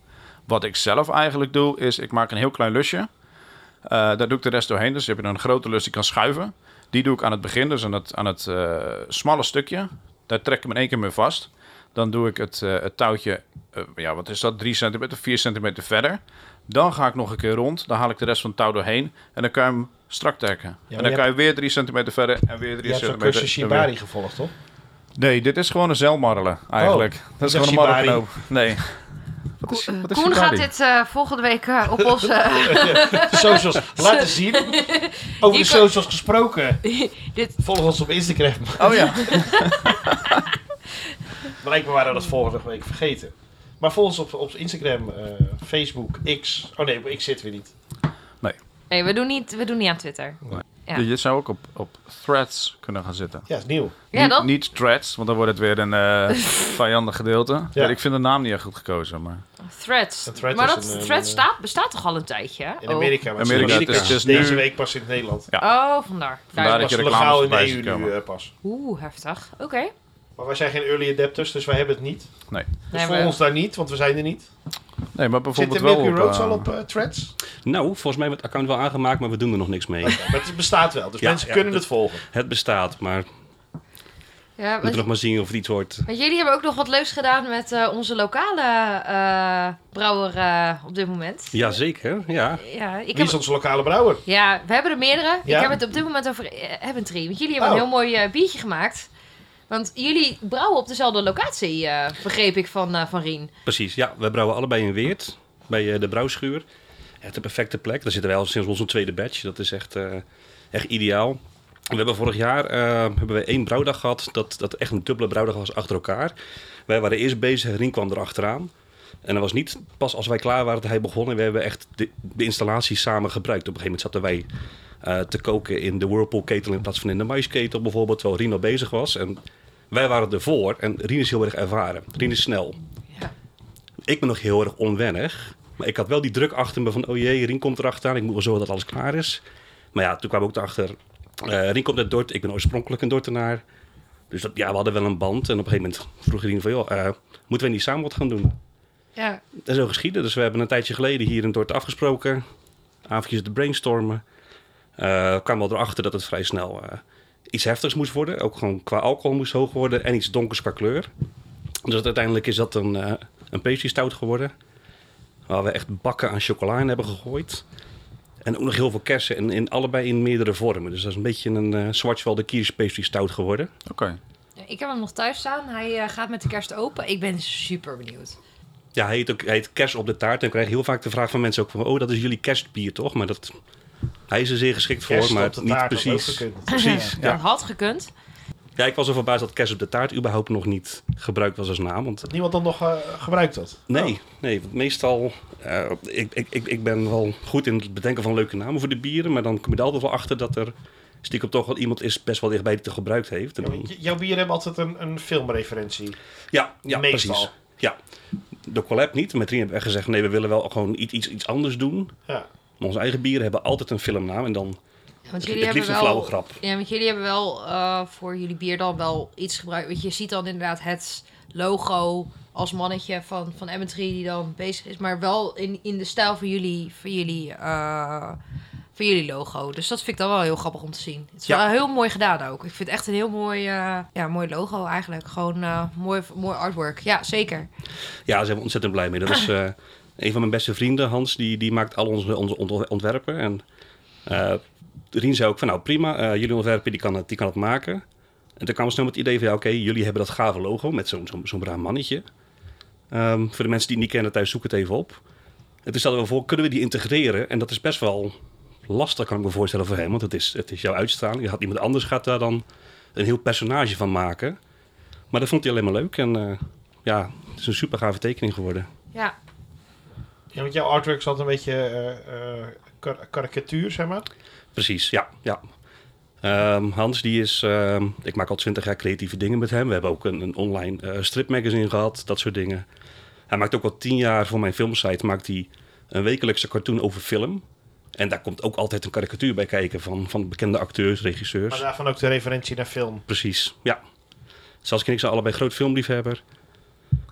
Speaker 2: Wat ik zelf eigenlijk doe, is ik maak een heel klein lusje. Eh, daar doe ik de rest doorheen. Dus heb je een grote lus die kan schuiven. Die doe ik aan het begin, dus aan het, aan het eh, smalle stukje. Daar trek ik hem in één keer mee vast. Dan doe ik het, eh, het touwtje, eh, ja, wat is dat, 3 centimeter, 4 centimeter verder. Dan ga ik nog een keer rond. Dan haal ik de rest van het touw doorheen. En dan kan je hem strak trekken.
Speaker 1: maar
Speaker 2: en dan
Speaker 1: je
Speaker 2: kan je weer 3 centimeter verder en weer 3
Speaker 1: Je hebt zo'n
Speaker 2: centimeter.
Speaker 1: cursus
Speaker 2: en weer-
Speaker 1: Shibari gevolgd, toch?
Speaker 2: Nee, dit is gewoon een zeilmarrelen eigenlijk. dat is
Speaker 1: ik dacht
Speaker 2: gewoon een marrelknoop.
Speaker 1: Oh, shibari.
Speaker 2: Nee. Wat is, wat is
Speaker 3: Koen gaat
Speaker 2: shibari?
Speaker 3: dit eh, volgende week eh, op onze...
Speaker 1: socials laten zien. Over de
Speaker 3: kan-
Speaker 1: socials gesproken.
Speaker 3: dit,
Speaker 1: Volg ons op Instagram.
Speaker 2: Oh ja.
Speaker 1: Blijkbaar waren we dat vorige week vergeten. Maar volg ons op, op Instagram, eh, Facebook, X. Oh nee, op X zitten we niet.
Speaker 3: nee, we doen, niet, we doen niet aan Twitter. Ja.
Speaker 2: Je zou ook op, op threads kunnen gaan zitten.
Speaker 1: Ja, is nieuw.
Speaker 3: Ja,
Speaker 2: niet,
Speaker 3: dat...
Speaker 2: niet threads, want dan wordt het weer een eh vijandig gedeelte. Weet, ik vind de naam niet echt goed gekozen, maar...
Speaker 3: Threads.
Speaker 1: Een thread
Speaker 3: maar
Speaker 1: is
Speaker 3: dat
Speaker 1: een, eh,
Speaker 3: thread staat, bestaat toch al een tijdje? hè?
Speaker 1: In Amerika. maar
Speaker 2: Amerika,
Speaker 1: in
Speaker 2: het is dus
Speaker 1: Deze
Speaker 2: nu-
Speaker 1: week pas in het Nederland.
Speaker 3: Oh, oh vandaar.
Speaker 2: Vandaar
Speaker 1: Pas
Speaker 2: dat je reclames
Speaker 1: legaal in
Speaker 2: voorbij
Speaker 1: de
Speaker 2: ziet
Speaker 1: EU nu
Speaker 2: komen.
Speaker 1: eh, pas.
Speaker 3: Oeh, heftig. Oké.
Speaker 1: Maar wij zijn geen early adapters, dus wij hebben het niet.
Speaker 2: Nee.
Speaker 1: Dus
Speaker 3: Nee,
Speaker 1: voor
Speaker 3: maar-
Speaker 1: ons daar niet, want we zijn er niet.
Speaker 2: Nee, maar
Speaker 1: Zit de
Speaker 2: bijvoorbeeld wel
Speaker 1: Milky
Speaker 2: op...
Speaker 1: Roads
Speaker 2: eh,
Speaker 1: al op eh, threads?
Speaker 4: Nou, volgens mij wordt het account wel aangemaakt, maar we doen er nog niks mee.
Speaker 1: Maar het bestaat wel, dus
Speaker 4: Ja,
Speaker 1: mensen
Speaker 4: ja,
Speaker 1: kunnen
Speaker 4: dat-
Speaker 1: het volgen.
Speaker 4: het bestaat, maar we
Speaker 3: Ja,
Speaker 4: moeten nog
Speaker 3: want,
Speaker 4: maar zien of het iets wordt.
Speaker 3: want jullie hebben ook nog wat leuks gedaan met eh, onze lokale eh, brouwer eh, op dit moment.
Speaker 4: Jazeker, ja.
Speaker 3: Ja, ik
Speaker 1: Wie is
Speaker 3: heb,
Speaker 1: onze lokale brouwer?
Speaker 3: ja, we hebben er meerdere.
Speaker 1: Ja.
Speaker 3: Ik heb het op dit moment over eh, Hebbentry. Want jullie hebben
Speaker 1: Oh.
Speaker 3: een heel mooi eh, biertje gemaakt. Want jullie brouwen op dezelfde locatie, eh, begreep ik van, eh, van Rien.
Speaker 4: Precies, ja. We brouwen allebei in Weert, bij eh, de brouwschuur. Echt de perfecte plek. Daar zitten wij al sinds onze tweede batch. Dat is echt, eh, echt ideaal. We hebben vorig jaar eh, hebben we één brouwdag gehad, dat, dat echt een dubbele brouwdag was achter elkaar. Wij waren eerst bezig, Rien kwam erachteraan. En dat was niet pas als wij klaar waren dat hij begon. En we hebben echt de, de installatie samen gebruikt. Op een gegeven moment zaten wij eh, te koken in de Whirlpool-ketel in plaats van in de maisketel bijvoorbeeld, terwijl Rien al bezig was. En wij waren ervoor en Rien is heel erg ervaren. Rien is snel ik ben nog heel erg onwennig. Maar ik had wel die druk achter me van, oh jee, Rien komt erachteraan. Ik moet wel zorgen dat alles klaar is. Maar ja, toen kwam ik ook erachter. eh Rien komt uit Dort. Ik ben oorspronkelijk een Dortenaar. Dus dat, ja, we hadden wel een band. En op een gegeven moment vroeg Rien van, joh, eh, moeten we niet samen wat gaan doen?
Speaker 3: Ja,
Speaker 4: En zo geschiedde. Dus we hebben een tijdje geleden hier in Dort afgesproken. Avondjes te brainstormen. Eh kwamen wel erachter dat het vrij snel eh, iets heftigs moest worden. Ook gewoon qua alcohol moest hoog worden. En iets donkers qua kleur. Dus dat- uiteindelijk is dat een, eh een pastry stout geworden. Waar we echt bakken aan chocola in hebben gegooid. En ook nog heel veel kersen. En in, allebei in meerdere vormen. Dus dat is een beetje een eh Schwarzwalder Kiers pastry stout geworden.
Speaker 2: Oké.
Speaker 3: ik heb hem nog thuis staan. Hij eh, gaat met de kerst open. Ik ben super benieuwd.
Speaker 4: Ja, hij heet ook hij heet kers op de taart. En ik krijg heel vaak de vraag van mensen ook van... oh, dat is jullie kerstbier, toch? Maar dat, hij is er zeer geschikt voor,
Speaker 1: Kerst
Speaker 4: maar
Speaker 1: op de
Speaker 4: niet
Speaker 1: taart, dat
Speaker 4: precies.
Speaker 1: had ook gekund.
Speaker 4: Precies, ja.
Speaker 3: Dat had gekund.
Speaker 4: Ja, ik was er verbaasd dat kers op de taart überhaupt nog niet gebruikt was als naam. Want
Speaker 1: Dat niemand dan nog eh, gebruikt had.
Speaker 4: nee, nee want meestal... eh, ik, ik, ik, ik ben wel goed in het bedenken van leuke namen voor de bieren... maar dan kom je er altijd wel achter dat er stiekem toch wel iemand is... best wel dichtbij die het gebruikt heeft. En
Speaker 1: Ja,
Speaker 4: dan-
Speaker 1: want Oh. j- jouw bieren hebben altijd een, een filmreferentie.
Speaker 4: Ja, ja
Speaker 1: Meestal.
Speaker 4: precies. Ja. De collab niet. Met Rien hebben we echt gezegd... nee, we willen wel gewoon iets, iets, iets anders doen.
Speaker 1: Ja.
Speaker 4: Maar onze eigen bieren hebben altijd een filmnaam en dan...
Speaker 3: Want
Speaker 4: Het-
Speaker 3: jullie
Speaker 4: het
Speaker 3: hebben
Speaker 4: liefst
Speaker 3: wel,
Speaker 4: een flauwe grap.
Speaker 3: Ja, want jullie hebben wel eh, voor jullie bier dan wel iets gebruikt. Want je ziet dan inderdaad het logo als mannetje van, van Emmetry die dan bezig is. Maar wel in, in de stijl van jullie, van, jullie, eh, van jullie logo. Dus dat vind ik dan wel heel grappig om te zien. Het is
Speaker 4: Ja.
Speaker 3: wel heel mooi gedaan ook. Ik vind het echt een heel mooi, eh, ja, mooi logo eigenlijk. Gewoon eh, mooi, mooi artwork. Ja, zeker.
Speaker 4: Ja, daar zijn we ontzettend blij mee. Dat is eh, een van mijn beste vrienden, Hans, die, die maakt al onze, onze ont- ontwerpen. En eh, Rien zei ook van, nou prima, eh, jullie ontwerpen, die kan, het, die kan het maken. En toen kwam snel met het idee van, ja oké, jullie hebben dat gave logo met zo'n zo'n zo'n raar mannetje. Ehm, voor de mensen die het niet kennen thuis, zoek het even op. En toen stelden we voor, kunnen we die integreren? En dat is best wel lastig, kan ik me voorstellen, voor hem. Want het is, het is jouw uitstraling. Je had iemand anders gaat daar dan een heel personage van maken. Maar dat vond hij alleen maar leuk. En eh, ja, het is een super gave tekening geworden.
Speaker 3: Ja,
Speaker 1: Ja, want jouw artwork zat een beetje eh, eh, kar- karikatuur, zeg maar.
Speaker 2: Dus-
Speaker 4: Precies, ja. ja. Ehm, Hans, die is. ehm, ik maak al twintig jaar creatieve dingen met hem. We hebben ook een, een online eh, stripmagazine gehad, dat soort dingen. Hij maakt ook al tien jaar voor mijn filmsite maakt hij een wekelijkse cartoon over film. En daar komt ook altijd een karikatuur bij kijken van, van bekende acteurs, regisseurs.
Speaker 1: Maar daarvan ook de referentie naar film.
Speaker 4: Precies, ja. Dus Saskia en ik zijn allebei groot filmliefhebber.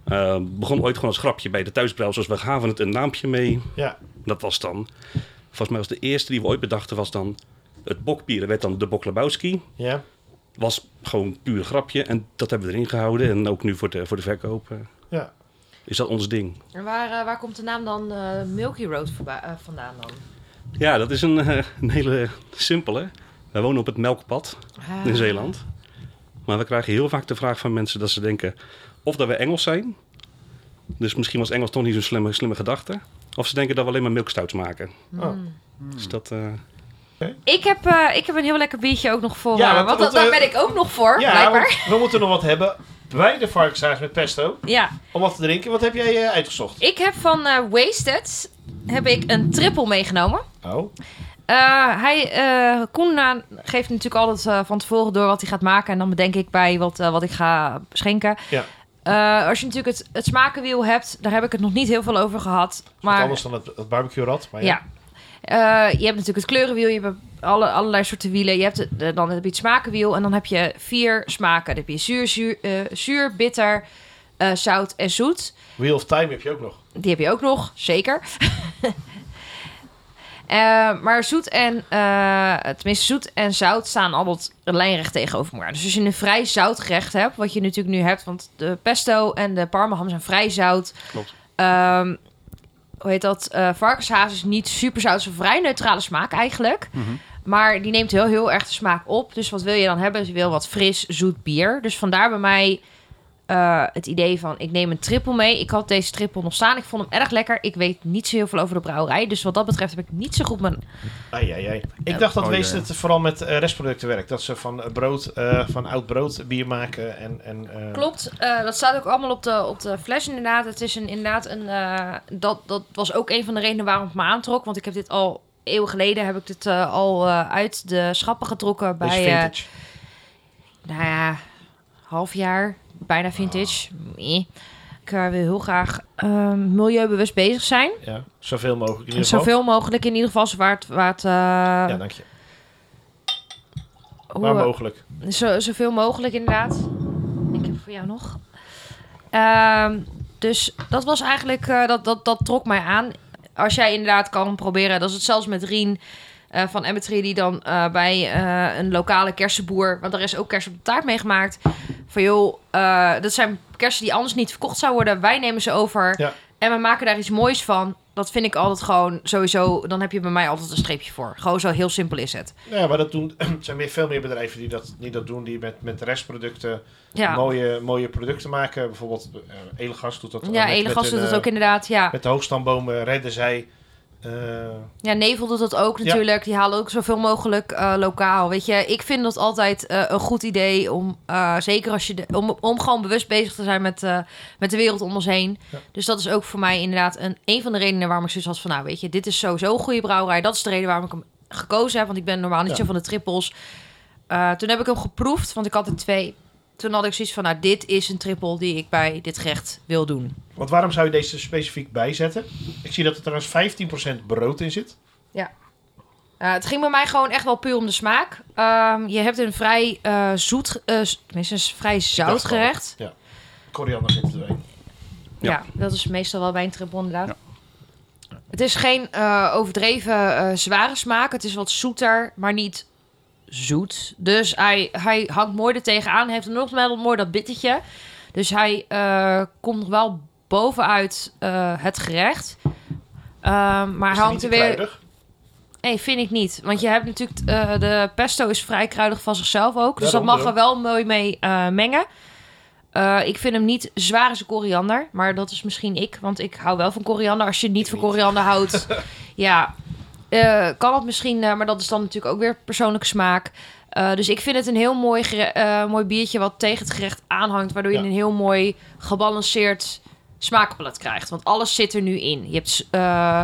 Speaker 4: Ehm, begon ooit gewoon als grapje bij de thuisbrouwers. We gaven het een naampje mee.
Speaker 1: Ja.
Speaker 4: Dat was dan. Volgens mij was de eerste die we ooit bedachten was dan het bokbier. Dat werd dan de Bok Lebowski.
Speaker 1: ja.
Speaker 4: Was gewoon puur grapje en dat hebben we erin gehouden. En ook nu voor de, voor de verkoop eh,
Speaker 1: Ja.
Speaker 4: is dat ons ding.
Speaker 3: en waar, eh, waar komt de naam dan eh, Milky Road voorba- eh, vandaan dan?
Speaker 4: Ja, dat is een, eh, een hele simpele. Wij wonen op het Melkpad in
Speaker 3: Ah.
Speaker 4: Zeeland. Maar we krijgen heel vaak de vraag van mensen dat ze denken of dat we Engels zijn. Dus misschien was Engels toch niet zo'n slimme, slimme gedachte. Of ze denken dat we alleen maar milkstouts maken.
Speaker 1: Oh.
Speaker 4: Dus dat... eh,
Speaker 3: Ik heb, eh, ik heb een heel lekker biertje ook nog voor.
Speaker 1: Ja,
Speaker 3: eh,
Speaker 1: want-
Speaker 3: want dat-
Speaker 1: want, eh,
Speaker 3: daar ben ik ook nog voor,
Speaker 1: Ja,
Speaker 3: blijkbaar.
Speaker 1: want we moeten nog wat hebben bij de varkenshuis met pesto.
Speaker 3: Ja,
Speaker 1: Om wat te drinken. Wat heb jij eh, uitgezocht?
Speaker 3: ik heb van eh, Wasted heb ik een triple meegenomen.
Speaker 1: Oh.
Speaker 3: Eh, hij, eh Koen eh, geeft natuurlijk altijd eh, van tevoren door wat hij gaat maken. En dan bedenk ik bij wat, eh, wat ik ga schenken.
Speaker 1: Ja.
Speaker 3: Eh, als je natuurlijk het, het smakenwiel hebt, daar heb ik het nog niet heel veel over gehad.
Speaker 1: Maar,
Speaker 3: Maar
Speaker 1: anders dan het, het barbecue rad. Maar ja.
Speaker 3: Ja. Eh, je hebt natuurlijk het kleurenwiel, je hebt alle, allerlei soorten wielen. Je hebt, het, eh, dan heb je het smakenwiel en dan heb je vier smaken. Dan heb je zuur, zuur, eh, zuur bitter, eh, zout en zoet.
Speaker 1: Wheel of Time heb je ook nog.
Speaker 3: Die heb je ook nog, zeker. Eh, maar zoet en, eh, tenminste zoet en zout staan altijd lijnrecht tegenover elkaar. Dus als je een vrij zout gerecht hebt, wat je natuurlijk nu hebt, want de pesto en de parmaham zijn vrij zout.
Speaker 2: Klopt.
Speaker 3: Ehm, hoe heet dat? Eh varkenshaas is niet super zout, het is een vrij neutrale smaak eigenlijk.
Speaker 2: Mhm.
Speaker 3: Maar die neemt heel, heel erg de smaak op. Dus wat wil je dan hebben? Je wil wat fris, zoet bier. Dus vandaar bij mij eh, het idee van... ik neem een trippel mee. Ik had deze trippel nog staan. Ik vond hem erg lekker. Ik weet niet zo heel veel over de brouwerij. Dus wat dat betreft heb ik niet zo goed mijn...
Speaker 1: Ai, ai, ai. Ik dacht dat
Speaker 2: Oh,
Speaker 1: Wees
Speaker 2: ja.
Speaker 1: het vooral met eh, restproducten werkt. Dat ze van, eh, brood, eh, van oud brood bier maken. En, en, eh,
Speaker 3: Klopt. eh, dat staat ook allemaal op de, op de fles inderdaad. Het is een, inderdaad een... eh, dat, dat was ook een van de redenen waarom het me aantrok. Want ik heb dit al... Eeuwen geleden heb ik dit eh, al eh, uit de schappen getrokken
Speaker 1: Dit is
Speaker 3: bij... eh,
Speaker 1: vintage.
Speaker 3: nou ja, half jaar, bijna vintage. Nee. Ik eh, wil heel graag ehm, milieubewust bezig zijn.
Speaker 1: ja, zoveel mogelijk in ieder geval.
Speaker 3: eh, Zoveel mogelijk in ieder geval, zo waar het... Waar het eh,
Speaker 1: Ja, dank je.
Speaker 3: hoe,
Speaker 1: Waar
Speaker 3: eh,
Speaker 1: mogelijk.
Speaker 3: zo, zoveel mogelijk inderdaad. Ik heb voor jou nog. Ehm, dus dat was eigenlijk, eh, dat, dat, dat trok mij aan. Als jij inderdaad kan proberen, dat is het zelfs met Rien eh, van Emmetry, die dan eh, bij eh, een lokale kersenboer, want daar is ook kerst op de taart meegemaakt, van joh, eh, dat zijn kersen die anders niet verkocht zou worden. Wij nemen ze over
Speaker 1: Ja.
Speaker 3: en we maken daar iets moois van. Dat vind ik altijd gewoon sowieso, dan heb je bij mij altijd een streepje voor. Gewoon zo heel simpel is het.
Speaker 1: Nou Ja, maar dat doen, er zijn meer, veel meer bedrijven die dat, die dat doen. Die met, met restproducten
Speaker 3: Ja,
Speaker 1: mooie, mooie producten maken. Bijvoorbeeld eh Edelgas doet dat. eh,
Speaker 3: ja
Speaker 1: met-
Speaker 3: Edelgas
Speaker 1: met
Speaker 3: doet
Speaker 1: hun,
Speaker 3: dat
Speaker 1: eh,
Speaker 3: ook inderdaad, ja.
Speaker 1: Met de hoogstandbomen redden zij... eh,
Speaker 3: Ja, Nevel doet dat ook
Speaker 1: Ja.
Speaker 3: natuurlijk. Die halen ook zoveel mogelijk eh, lokaal. Weet je, ik vind dat altijd eh, een goed idee om, eh, zeker als je, de- om, om gewoon bewust bezig te zijn met, eh, met de wereld om ons heen.
Speaker 1: Ja.
Speaker 3: Dus dat is ook voor mij inderdaad een, een van de redenen waarom ik zoiets had van, nou weet je, dit is sowieso een goede brouwerij. Dat is de reden waarom ik hem gekozen heb, want ik ben normaal niet
Speaker 1: Ja.
Speaker 3: zo van de trippels. Eh, toen heb ik hem geproefd, want ik had er twee. Toen had ik zoiets van, nou dit is een trippel die ik bij dit gerecht wil doen.
Speaker 1: Want waarom zou je deze dus specifiek bijzetten? Ik zie dat er trouwens 15% brood in zit.
Speaker 3: Eh, het ging bij mij gewoon echt wel puur om de smaak. Ehm, je hebt een vrij eh, zoet, eh, s- tenminste een vrij zout
Speaker 1: dacht al.
Speaker 3: gerecht.
Speaker 1: Koriander zit er doorheen.
Speaker 3: Ja.
Speaker 4: Ja.
Speaker 3: dat is meestal wel bij een trippel inderdaad. Het is geen eh, overdreven eh, zware smaak. Het is wat zoeter, maar niet zoet. Dus hij, hij hangt mooi er tegenaan. Hij heeft nog wel mooi dat bittertje. Dus hij eh, komt nog wel bovenuit eh, het gerecht. Ehm, maar
Speaker 1: Is
Speaker 3: hij
Speaker 1: het
Speaker 3: hangt
Speaker 1: niet
Speaker 3: er
Speaker 1: te
Speaker 3: weer...
Speaker 1: kruidig?
Speaker 3: Nee, vind ik niet. Want je hebt natuurlijk... eh, de pesto is vrij kruidig van zichzelf ook. Dus
Speaker 1: Daarom,
Speaker 3: dat mag er
Speaker 1: daarom.
Speaker 3: wel mooi mee eh, mengen. Eh, ik vind hem niet zwaar als een koriander. Maar dat is misschien ik. Want ik hou wel van koriander. Als je niet van koriander houdt... ja, eh, kan het misschien... eh, maar dat is dan natuurlijk ook weer persoonlijke smaak. Eh, dus ik vind het een heel mooi, gere- eh, mooi biertje... wat tegen het gerecht aanhangt. Waardoor
Speaker 1: Ja.
Speaker 3: je een heel mooi gebalanceerd smaakpalet krijgt. Want alles zit er nu in. Je hebt... eh,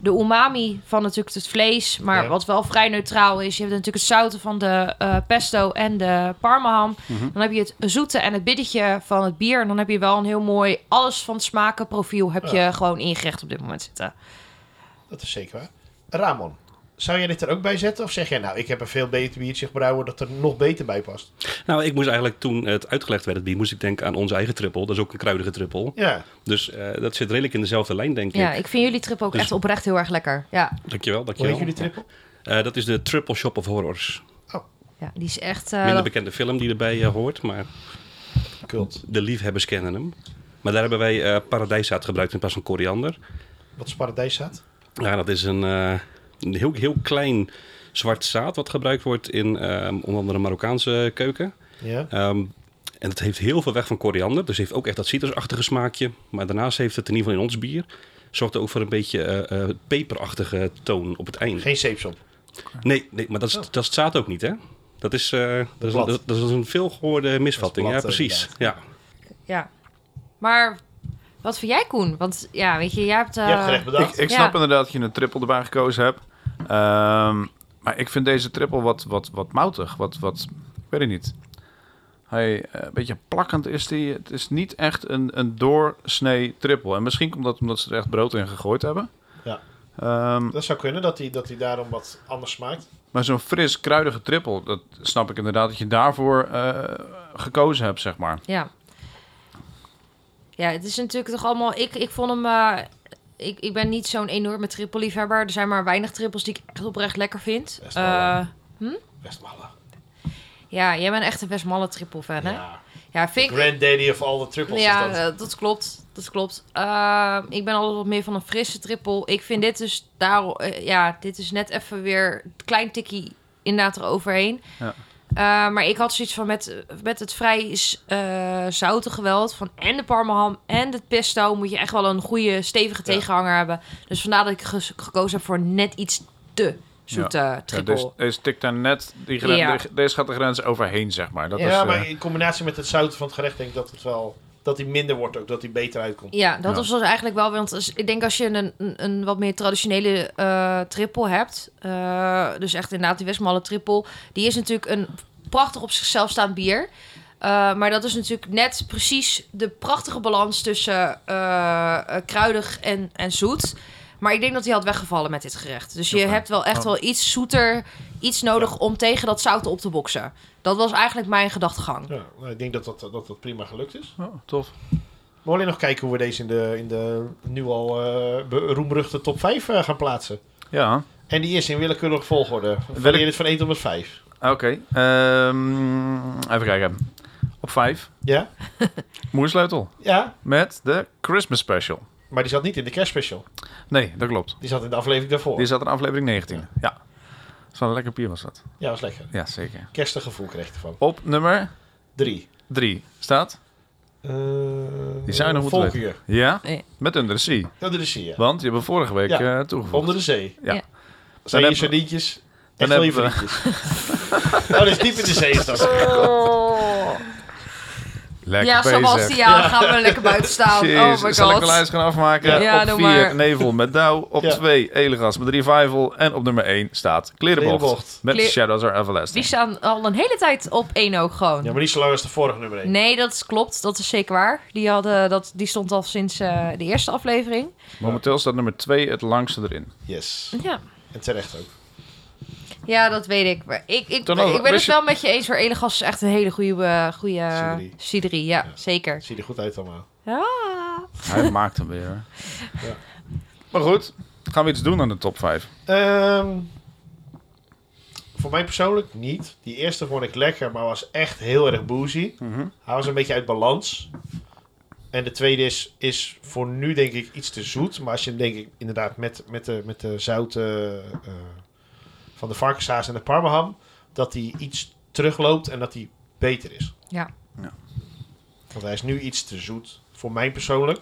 Speaker 3: de umami van natuurlijk het vlees, maar
Speaker 1: Ja.
Speaker 3: wat wel vrij neutraal is. Je hebt natuurlijk het zouten van de eh, pesto en de parmaham.
Speaker 1: Mhm.
Speaker 3: Dan heb je het zoete en het biddetje van het bier. En dan heb je wel een heel mooi alles van smaken profiel heb
Speaker 1: Ja.
Speaker 3: je gewoon ingerecht op dit moment zitten.
Speaker 1: Dat is zeker waar. Ramon, zou jij dit er ook bij zetten? Of zeg jij nou, ik heb een veel beter biertje gebrouwen dat er nog beter bij past?
Speaker 4: Nou, ik moest eigenlijk toen het uitgelegd werd, het bier, moest ik denken aan onze eigen trippel. Dat is ook een kruidige trippel.
Speaker 1: Ja,
Speaker 4: Dus eh, dat zit redelijk in dezelfde lijn, denk
Speaker 3: Ja,
Speaker 4: ik.
Speaker 3: ik vind jullie trip ook
Speaker 4: Dus-
Speaker 3: echt oprecht heel erg lekker. Ja,
Speaker 4: Dankjewel,
Speaker 1: hoe heet
Speaker 4: dankjewel.
Speaker 1: jullie trippel?
Speaker 4: Eh, dat is de Triple Shop of Horrors.
Speaker 3: ja die is echt. eh,
Speaker 4: Minder
Speaker 3: dat-
Speaker 4: bekende film die erbij eh, hoort, maar
Speaker 1: Kult.
Speaker 4: de liefhebbers kennen hem. Maar daar hebben wij eh paradijszaad gebruikt in plaats van koriander.
Speaker 1: Wat is paradijszaad?
Speaker 4: Ja, dat is een, eh, een heel, heel klein zwart zaad wat gebruikt wordt in eh, onder andere Marokkaanse keuken.
Speaker 1: Ja.
Speaker 4: Ehm, en het heeft heel veel weg van koriander. Dus heeft ook echt dat citrusachtige smaakje. Maar daarnaast heeft het in ieder geval in ons bier... zorgt er ook voor een beetje eh, eh, peperachtige toon op het eind.
Speaker 1: Geen zeepsop.
Speaker 4: Nee, nee maar dat is,
Speaker 1: Oh.
Speaker 4: dat is het zaad ook niet, hè? Dat is, eh, dat is,
Speaker 1: Blad.
Speaker 4: dat, dat is een veelgehoorde misvatting.
Speaker 1: Dat is
Speaker 4: ja,
Speaker 1: blad,
Speaker 4: precies. Ja.
Speaker 3: ja. Maar wat vind jij, Koen? Want ja, weet je, jij hebt. eh,
Speaker 1: je hebt gerecht
Speaker 2: Ik,
Speaker 1: bedacht.
Speaker 2: ik
Speaker 3: Ja.
Speaker 2: snap inderdaad dat je een triple erbij gekozen hebt. Ehm, maar ik vind deze triple wat, wat, wat moutig. Wat, wat, ik weet het niet. Hij, eh, een beetje plakkend is die. Het is niet echt een, een doorsnee triple. En misschien komt dat omdat ze er echt brood in gegooid hebben.
Speaker 1: Ja.
Speaker 2: Ehm,
Speaker 1: Dat zou kunnen, dat hij dat die daarom wat anders smaakt.
Speaker 2: maar zo'n fris, kruidige trippel, dat snap ik inderdaad dat je daarvoor eh, gekozen hebt, zeg maar.
Speaker 3: Ja. Ja, het is natuurlijk toch allemaal... Ik, ik vond hem... eh, ik, ik ben niet zo'n enorme trippelliefhebber. Er zijn maar weinig trippels die ik echt oprecht lekker vind.
Speaker 1: Best wel, ja.
Speaker 3: Eh,
Speaker 1: Westmalle.
Speaker 3: ja, jij bent echt een Westmalle trippel fan, hè?
Speaker 1: Ja.
Speaker 3: Ja, vind ik...
Speaker 1: Granddaddy of all the triples
Speaker 3: Ja,
Speaker 1: is dat.
Speaker 3: eh, dat klopt. Dat klopt. Eh, ik ben altijd wat meer van een frisse trippel. Ik vind dit dus daar, eh, ja, dit is net even weer een klein tikkie inderdaad eroverheen.
Speaker 2: Ja.
Speaker 3: Eh, maar ik had zoiets van met, met het vrij eh zoute geweld van en de parmeham en het pesto moet je echt wel een goede stevige
Speaker 1: Ja.
Speaker 3: tegenhanger hebben. Dus vandaar dat ik ge- gekozen heb voor net iets te zoete
Speaker 2: Ja,
Speaker 3: trippel.
Speaker 2: deze, deze tikt daar net, die gren-
Speaker 3: Ja.
Speaker 2: de- deze gaat de grens overheen, zeg maar. Dat
Speaker 1: ja,
Speaker 2: is,
Speaker 1: maar
Speaker 2: eh,
Speaker 1: in combinatie met het zouten van het gerecht denk ik dat het wel... Dat hij minder wordt ook, dat hij beter uitkomt.
Speaker 3: Ja, dat
Speaker 2: Ja.
Speaker 3: was dus eigenlijk wel. Want als, ik denk als je een, een, een wat meer traditionele eh triple hebt. eh, dus echt inderdaad die Westmalle triple. Die is natuurlijk een prachtig op zichzelf staand bier. Eh, maar dat is natuurlijk net precies de prachtige balans tussen eh, eh, kruidig en, en zoet. Maar ik denk dat die had weggevallen met dit gerecht. Dus je
Speaker 2: Oké.
Speaker 3: hebt wel echt
Speaker 2: Oh.
Speaker 3: wel iets zoeter, iets nodig om tegen dat zout op te boksen. Dat was eigenlijk mijn gedachtegang.
Speaker 1: Ja, nou, ik denk dat dat, dat dat prima gelukt is.
Speaker 2: oh, tof.
Speaker 1: We willen nog kijken hoe we deze in de, in de nu al eh, be- roemruchte top 5 eh, gaan plaatsen.
Speaker 2: Ja,
Speaker 1: En die is in willekeurige volgorde. Wanneer het van 1 tot met 5.
Speaker 2: oké. Ehm, even kijken. Op vijf,
Speaker 1: Ja?
Speaker 2: moersleutel
Speaker 1: Ja?
Speaker 2: met de Christmas special.
Speaker 1: Maar die zat niet in de kerstspecial.
Speaker 2: Nee, dat klopt.
Speaker 1: Die zat in de aflevering daarvoor.
Speaker 2: Die zat in aflevering 19. Ja. Dat is wel een lekker bier was dat.
Speaker 1: Ja, was lekker.
Speaker 2: Ja, zeker.
Speaker 1: Kerstig gevoel kreeg je ervan.
Speaker 2: Op nummer
Speaker 1: 3.
Speaker 2: 3 staat...
Speaker 1: Eh
Speaker 2: Die zou je nog moeten
Speaker 1: Volgier.
Speaker 2: Ja,
Speaker 3: Nee.
Speaker 2: met Under the Sea.
Speaker 1: Onder de zee, ja.
Speaker 2: Want je hebt hem vorige week
Speaker 1: Ja.
Speaker 2: eh, toegevoegd.
Speaker 1: Onder de zee.
Speaker 2: Ja.
Speaker 3: Ja.
Speaker 1: Zijn
Speaker 2: Dan
Speaker 1: je
Speaker 2: hebben
Speaker 1: sardientjes?
Speaker 2: dan
Speaker 1: Echt wel je
Speaker 2: hebben
Speaker 1: vriendjes. oh, dat is diep in de zee is dat.
Speaker 2: Lekker
Speaker 3: Ja,
Speaker 2: bezig.
Speaker 3: Sebastian, gaan we lekker buiten staan.
Speaker 2: Jezus,
Speaker 3: oh my
Speaker 2: zal ik de
Speaker 3: god.
Speaker 2: lijst gaan afmaken?
Speaker 3: Ja,
Speaker 2: op
Speaker 3: doe
Speaker 2: 4
Speaker 3: maar.
Speaker 2: Nevel met Douw. Op
Speaker 1: Ja.
Speaker 2: 2 Elegas met Revival. En op nummer 1 staat Klerenbocht,
Speaker 1: Klerenbocht.
Speaker 2: met
Speaker 3: Kle-
Speaker 2: Shadows Are
Speaker 3: Die
Speaker 2: Everlasting.
Speaker 3: staan al een hele tijd op één ook gewoon.
Speaker 1: Ja, maar niet zo lang als de vorige nummer 1.
Speaker 3: Nee, dat klopt. Dat is zeker waar. Die, hadden, dat, die stond al sinds eh, de eerste aflevering.
Speaker 2: Momenteel staat nummer 2 het langste erin.
Speaker 1: Yes.
Speaker 3: Ja,
Speaker 1: En terecht ook.
Speaker 3: ja dat weet ik. Maar ik, ik,
Speaker 2: Dan ook,
Speaker 3: ik ben het
Speaker 2: wist je-
Speaker 3: wel met je eens. Voor Elegas is echt een hele goede... eh, goede
Speaker 1: Sideri.
Speaker 3: Sideri, ja,
Speaker 1: Ja.
Speaker 3: zeker.
Speaker 1: Zie je er goed uit allemaal.
Speaker 3: Ja.
Speaker 2: Hij maakt hem weer.
Speaker 1: Ja.
Speaker 2: Maar goed, gaan we iets doen aan de top 5?
Speaker 3: Eh,
Speaker 1: Ehm, voor mij persoonlijk niet. Die eerste vond ik lekker, maar was echt heel erg boozy. Hij was een beetje uit balans. En de tweede is, is voor nu denk ik iets te zoet. Maar als je hem denk ik inderdaad met, met, de, met de zouten eh, van de varkenshaas en de parmaham... dat hij iets terugloopt en dat hij beter is.
Speaker 3: Ja.
Speaker 2: Ja.
Speaker 1: Want hij is nu iets te zoet. Voor mij persoonlijk.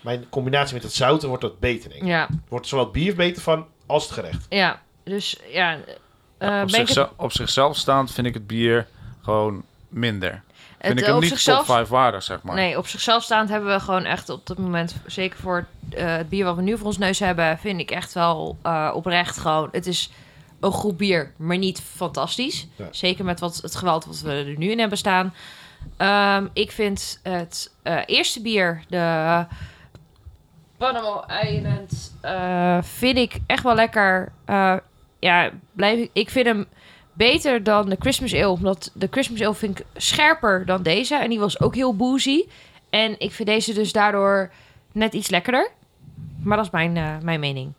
Speaker 1: Mijn combinatie met het zouten wordt dat beter denk ik.
Speaker 3: ja,
Speaker 1: Wordt zowel het bier beter van als het gerecht.
Speaker 3: ja. Dus ja, eh,
Speaker 2: Ja, Ah, op,
Speaker 3: ben ik het-
Speaker 2: zichzelf, op zichzelf staand vind ik het bier gewoon minder.
Speaker 3: het,
Speaker 2: vind ik
Speaker 3: eh,
Speaker 2: hem
Speaker 3: op
Speaker 2: niet
Speaker 3: zichzelf-
Speaker 2: top 5 waardig, zeg maar.
Speaker 3: Nee, op zichzelf staand hebben we gewoon echt op dit moment, zeker voor eh, het bier wat we nu voor ons neus hebben, vind ik echt wel eh, oprecht gewoon. Het is een goed bier, maar niet fantastisch.
Speaker 1: Nee.
Speaker 3: Zeker met wat, het geweld wat we er nu in hebben staan. Ehm, ik vind het eh, eerste bier, de Panama Island, eh, vind ik echt wel lekker. Eh, ja, blijf ik, ik vind hem beter dan de Christmas Ale. Omdat de Christmas Ale vind ik scherper dan deze. En die was ook heel boozy. En ik vind deze dus daardoor net iets lekkerder. Maar dat is mijn, eh, mijn mening.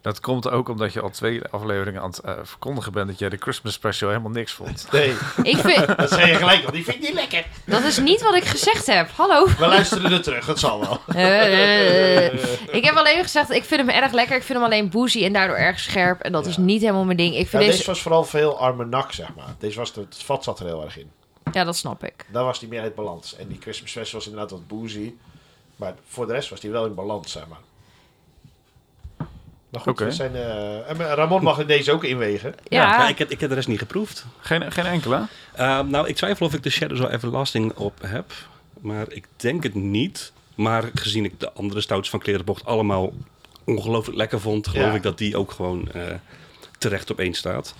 Speaker 2: Dat komt ook omdat je al twee afleveringen aan het eh, verkondigen bent dat jij de Christmas special helemaal niks vond.
Speaker 1: Nee,
Speaker 3: Ik vind,
Speaker 1: dat zei je gelijk al. Die vind ik niet lekker.
Speaker 3: dat is niet wat ik gezegd heb. Hallo.
Speaker 1: We luisteren er terug, dat zal wel.
Speaker 3: Eh, eh, ik heb alleen gezegd, ik vind hem erg lekker. Ik vind hem alleen boozy en daardoor erg scherp. En dat
Speaker 1: Ja.
Speaker 3: is niet helemaal mijn ding. Ik
Speaker 1: Ja,
Speaker 3: vind
Speaker 1: deze
Speaker 3: deze...
Speaker 1: was vooral veel armenak, zeg maar. Deze was de, het vat zat er heel erg in.
Speaker 3: Ja, dat snap ik.
Speaker 1: Daar was die meer uit balans. En die Christmas Special was inderdaad wat boozy. Maar voor de rest was die wel in balans, zeg maar. Nou goed,
Speaker 2: Oké.
Speaker 1: we zijn, eh, en Ramon mag in deze ook inwegen.
Speaker 3: Ja,
Speaker 4: Ja, ik, heb, ik heb de rest niet geproefd.
Speaker 2: Geen, geen enkele?
Speaker 4: Ehm, nou, ik twijfel of ik de Shadows of Everlasting op heb. Maar ik denk het niet. Maar gezien ik de andere stouts van Klerenbocht allemaal ongelooflijk lekker vond... geloof
Speaker 1: Ja.
Speaker 4: ik dat die ook gewoon eh, terecht op één staat.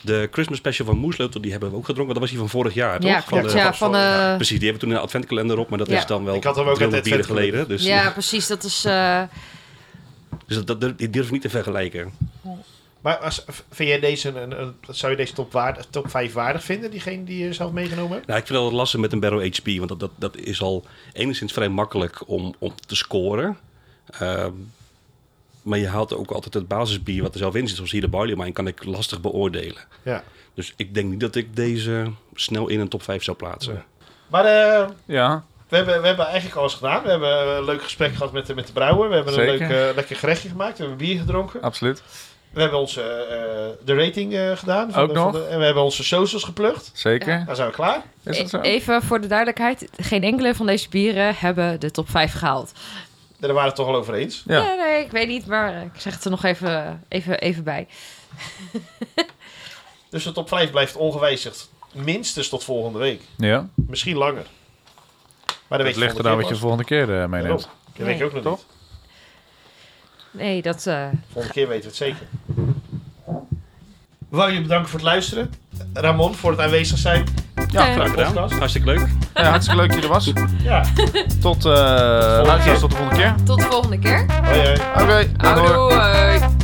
Speaker 4: De Christmas Special van Moesleutel, die hebben we ook gedronken. Dat was die van vorig jaar, toch?
Speaker 3: ja
Speaker 4: Van
Speaker 3: klopt.
Speaker 4: de-
Speaker 3: Ja, van de...
Speaker 4: Precies, die hebben we toen in de adventkalender op. Maar dat
Speaker 3: Ja.
Speaker 4: is dan wel
Speaker 1: Ik had hem ook uit de
Speaker 4: 300 bieren
Speaker 1: adventkalender.
Speaker 4: geleden. Dus
Speaker 3: Ja, precies. Dat is... eh,
Speaker 4: Dus dat, dat, ik durf niet te vergelijken.
Speaker 1: Maar als, vind jij deze een, een- zou je deze top, waard, top 5 waardig vinden, diegene die je zelf meegenomen hebt?
Speaker 4: Nou, ik vind dat lastig met een Barrel HP, want dat, dat, dat is al enigszins vrij makkelijk om, om te scoren. Ehm, maar je haalt ook altijd het basisbier wat er zelf in zit, zoals hier de Barley Wine, kan ik lastig beoordelen.
Speaker 1: Ja.
Speaker 4: Dus ik denk niet dat ik deze snel in een top 5 zou plaatsen.
Speaker 1: Maar eh,
Speaker 2: Ja,
Speaker 1: we, hebben, we hebben eigenlijk alles gedaan. We hebben een leuk gesprek gehad met, de- met de brouwer. We hebben een
Speaker 2: Zeker.
Speaker 1: leuk, eh, lekker gerechtje gemaakt. We hebben bier gedronken.
Speaker 2: absoluut.
Speaker 1: We hebben onze eh, de rating eh, gedaan.
Speaker 2: Ook
Speaker 1: de,
Speaker 2: nog?
Speaker 1: de- en we hebben onze socials geplukt.
Speaker 2: Zeker.
Speaker 1: Dan zijn we klaar.
Speaker 2: Is dat zo?
Speaker 3: E- Even voor de duidelijkheid. Geen enkele van deze bieren hebben de top 5 gehaald.
Speaker 1: Daar waren we het toch al over eens.
Speaker 2: Ja.
Speaker 3: Nee, nee, ik weet niet, maar eh, ik zeg het er nog even, even, even bij.
Speaker 1: Dus de top 5 blijft ongewijzigd. Minstens tot volgende week.
Speaker 2: Ja.
Speaker 1: Misschien langer. Maar dan weet
Speaker 2: Het
Speaker 1: je
Speaker 2: ligt
Speaker 1: volgende
Speaker 2: er
Speaker 1: keer
Speaker 2: nou wat je
Speaker 1: pas.
Speaker 2: volgende keer eh, meeneemt.
Speaker 1: Daarom. Dat weet je ook nog
Speaker 2: Toch?
Speaker 1: niet.
Speaker 3: Nee, dat... eh,
Speaker 1: Volgende keer weten we het zeker. We willen je bedanken voor het luisteren. Ramon voor het aanwezig zijn.
Speaker 2: Ja,
Speaker 4: Graag gedaan.
Speaker 1: Podcast.
Speaker 4: Hartstikke leuk.
Speaker 2: Ja, hartstikke leuk dat je er was.
Speaker 1: Ja.
Speaker 2: Tot, eh luisteraars, tot de volgende keer.
Speaker 3: tot de volgende keer.
Speaker 1: Hoi, hoi.
Speaker 2: Oké, doei.
Speaker 3: Houdoe.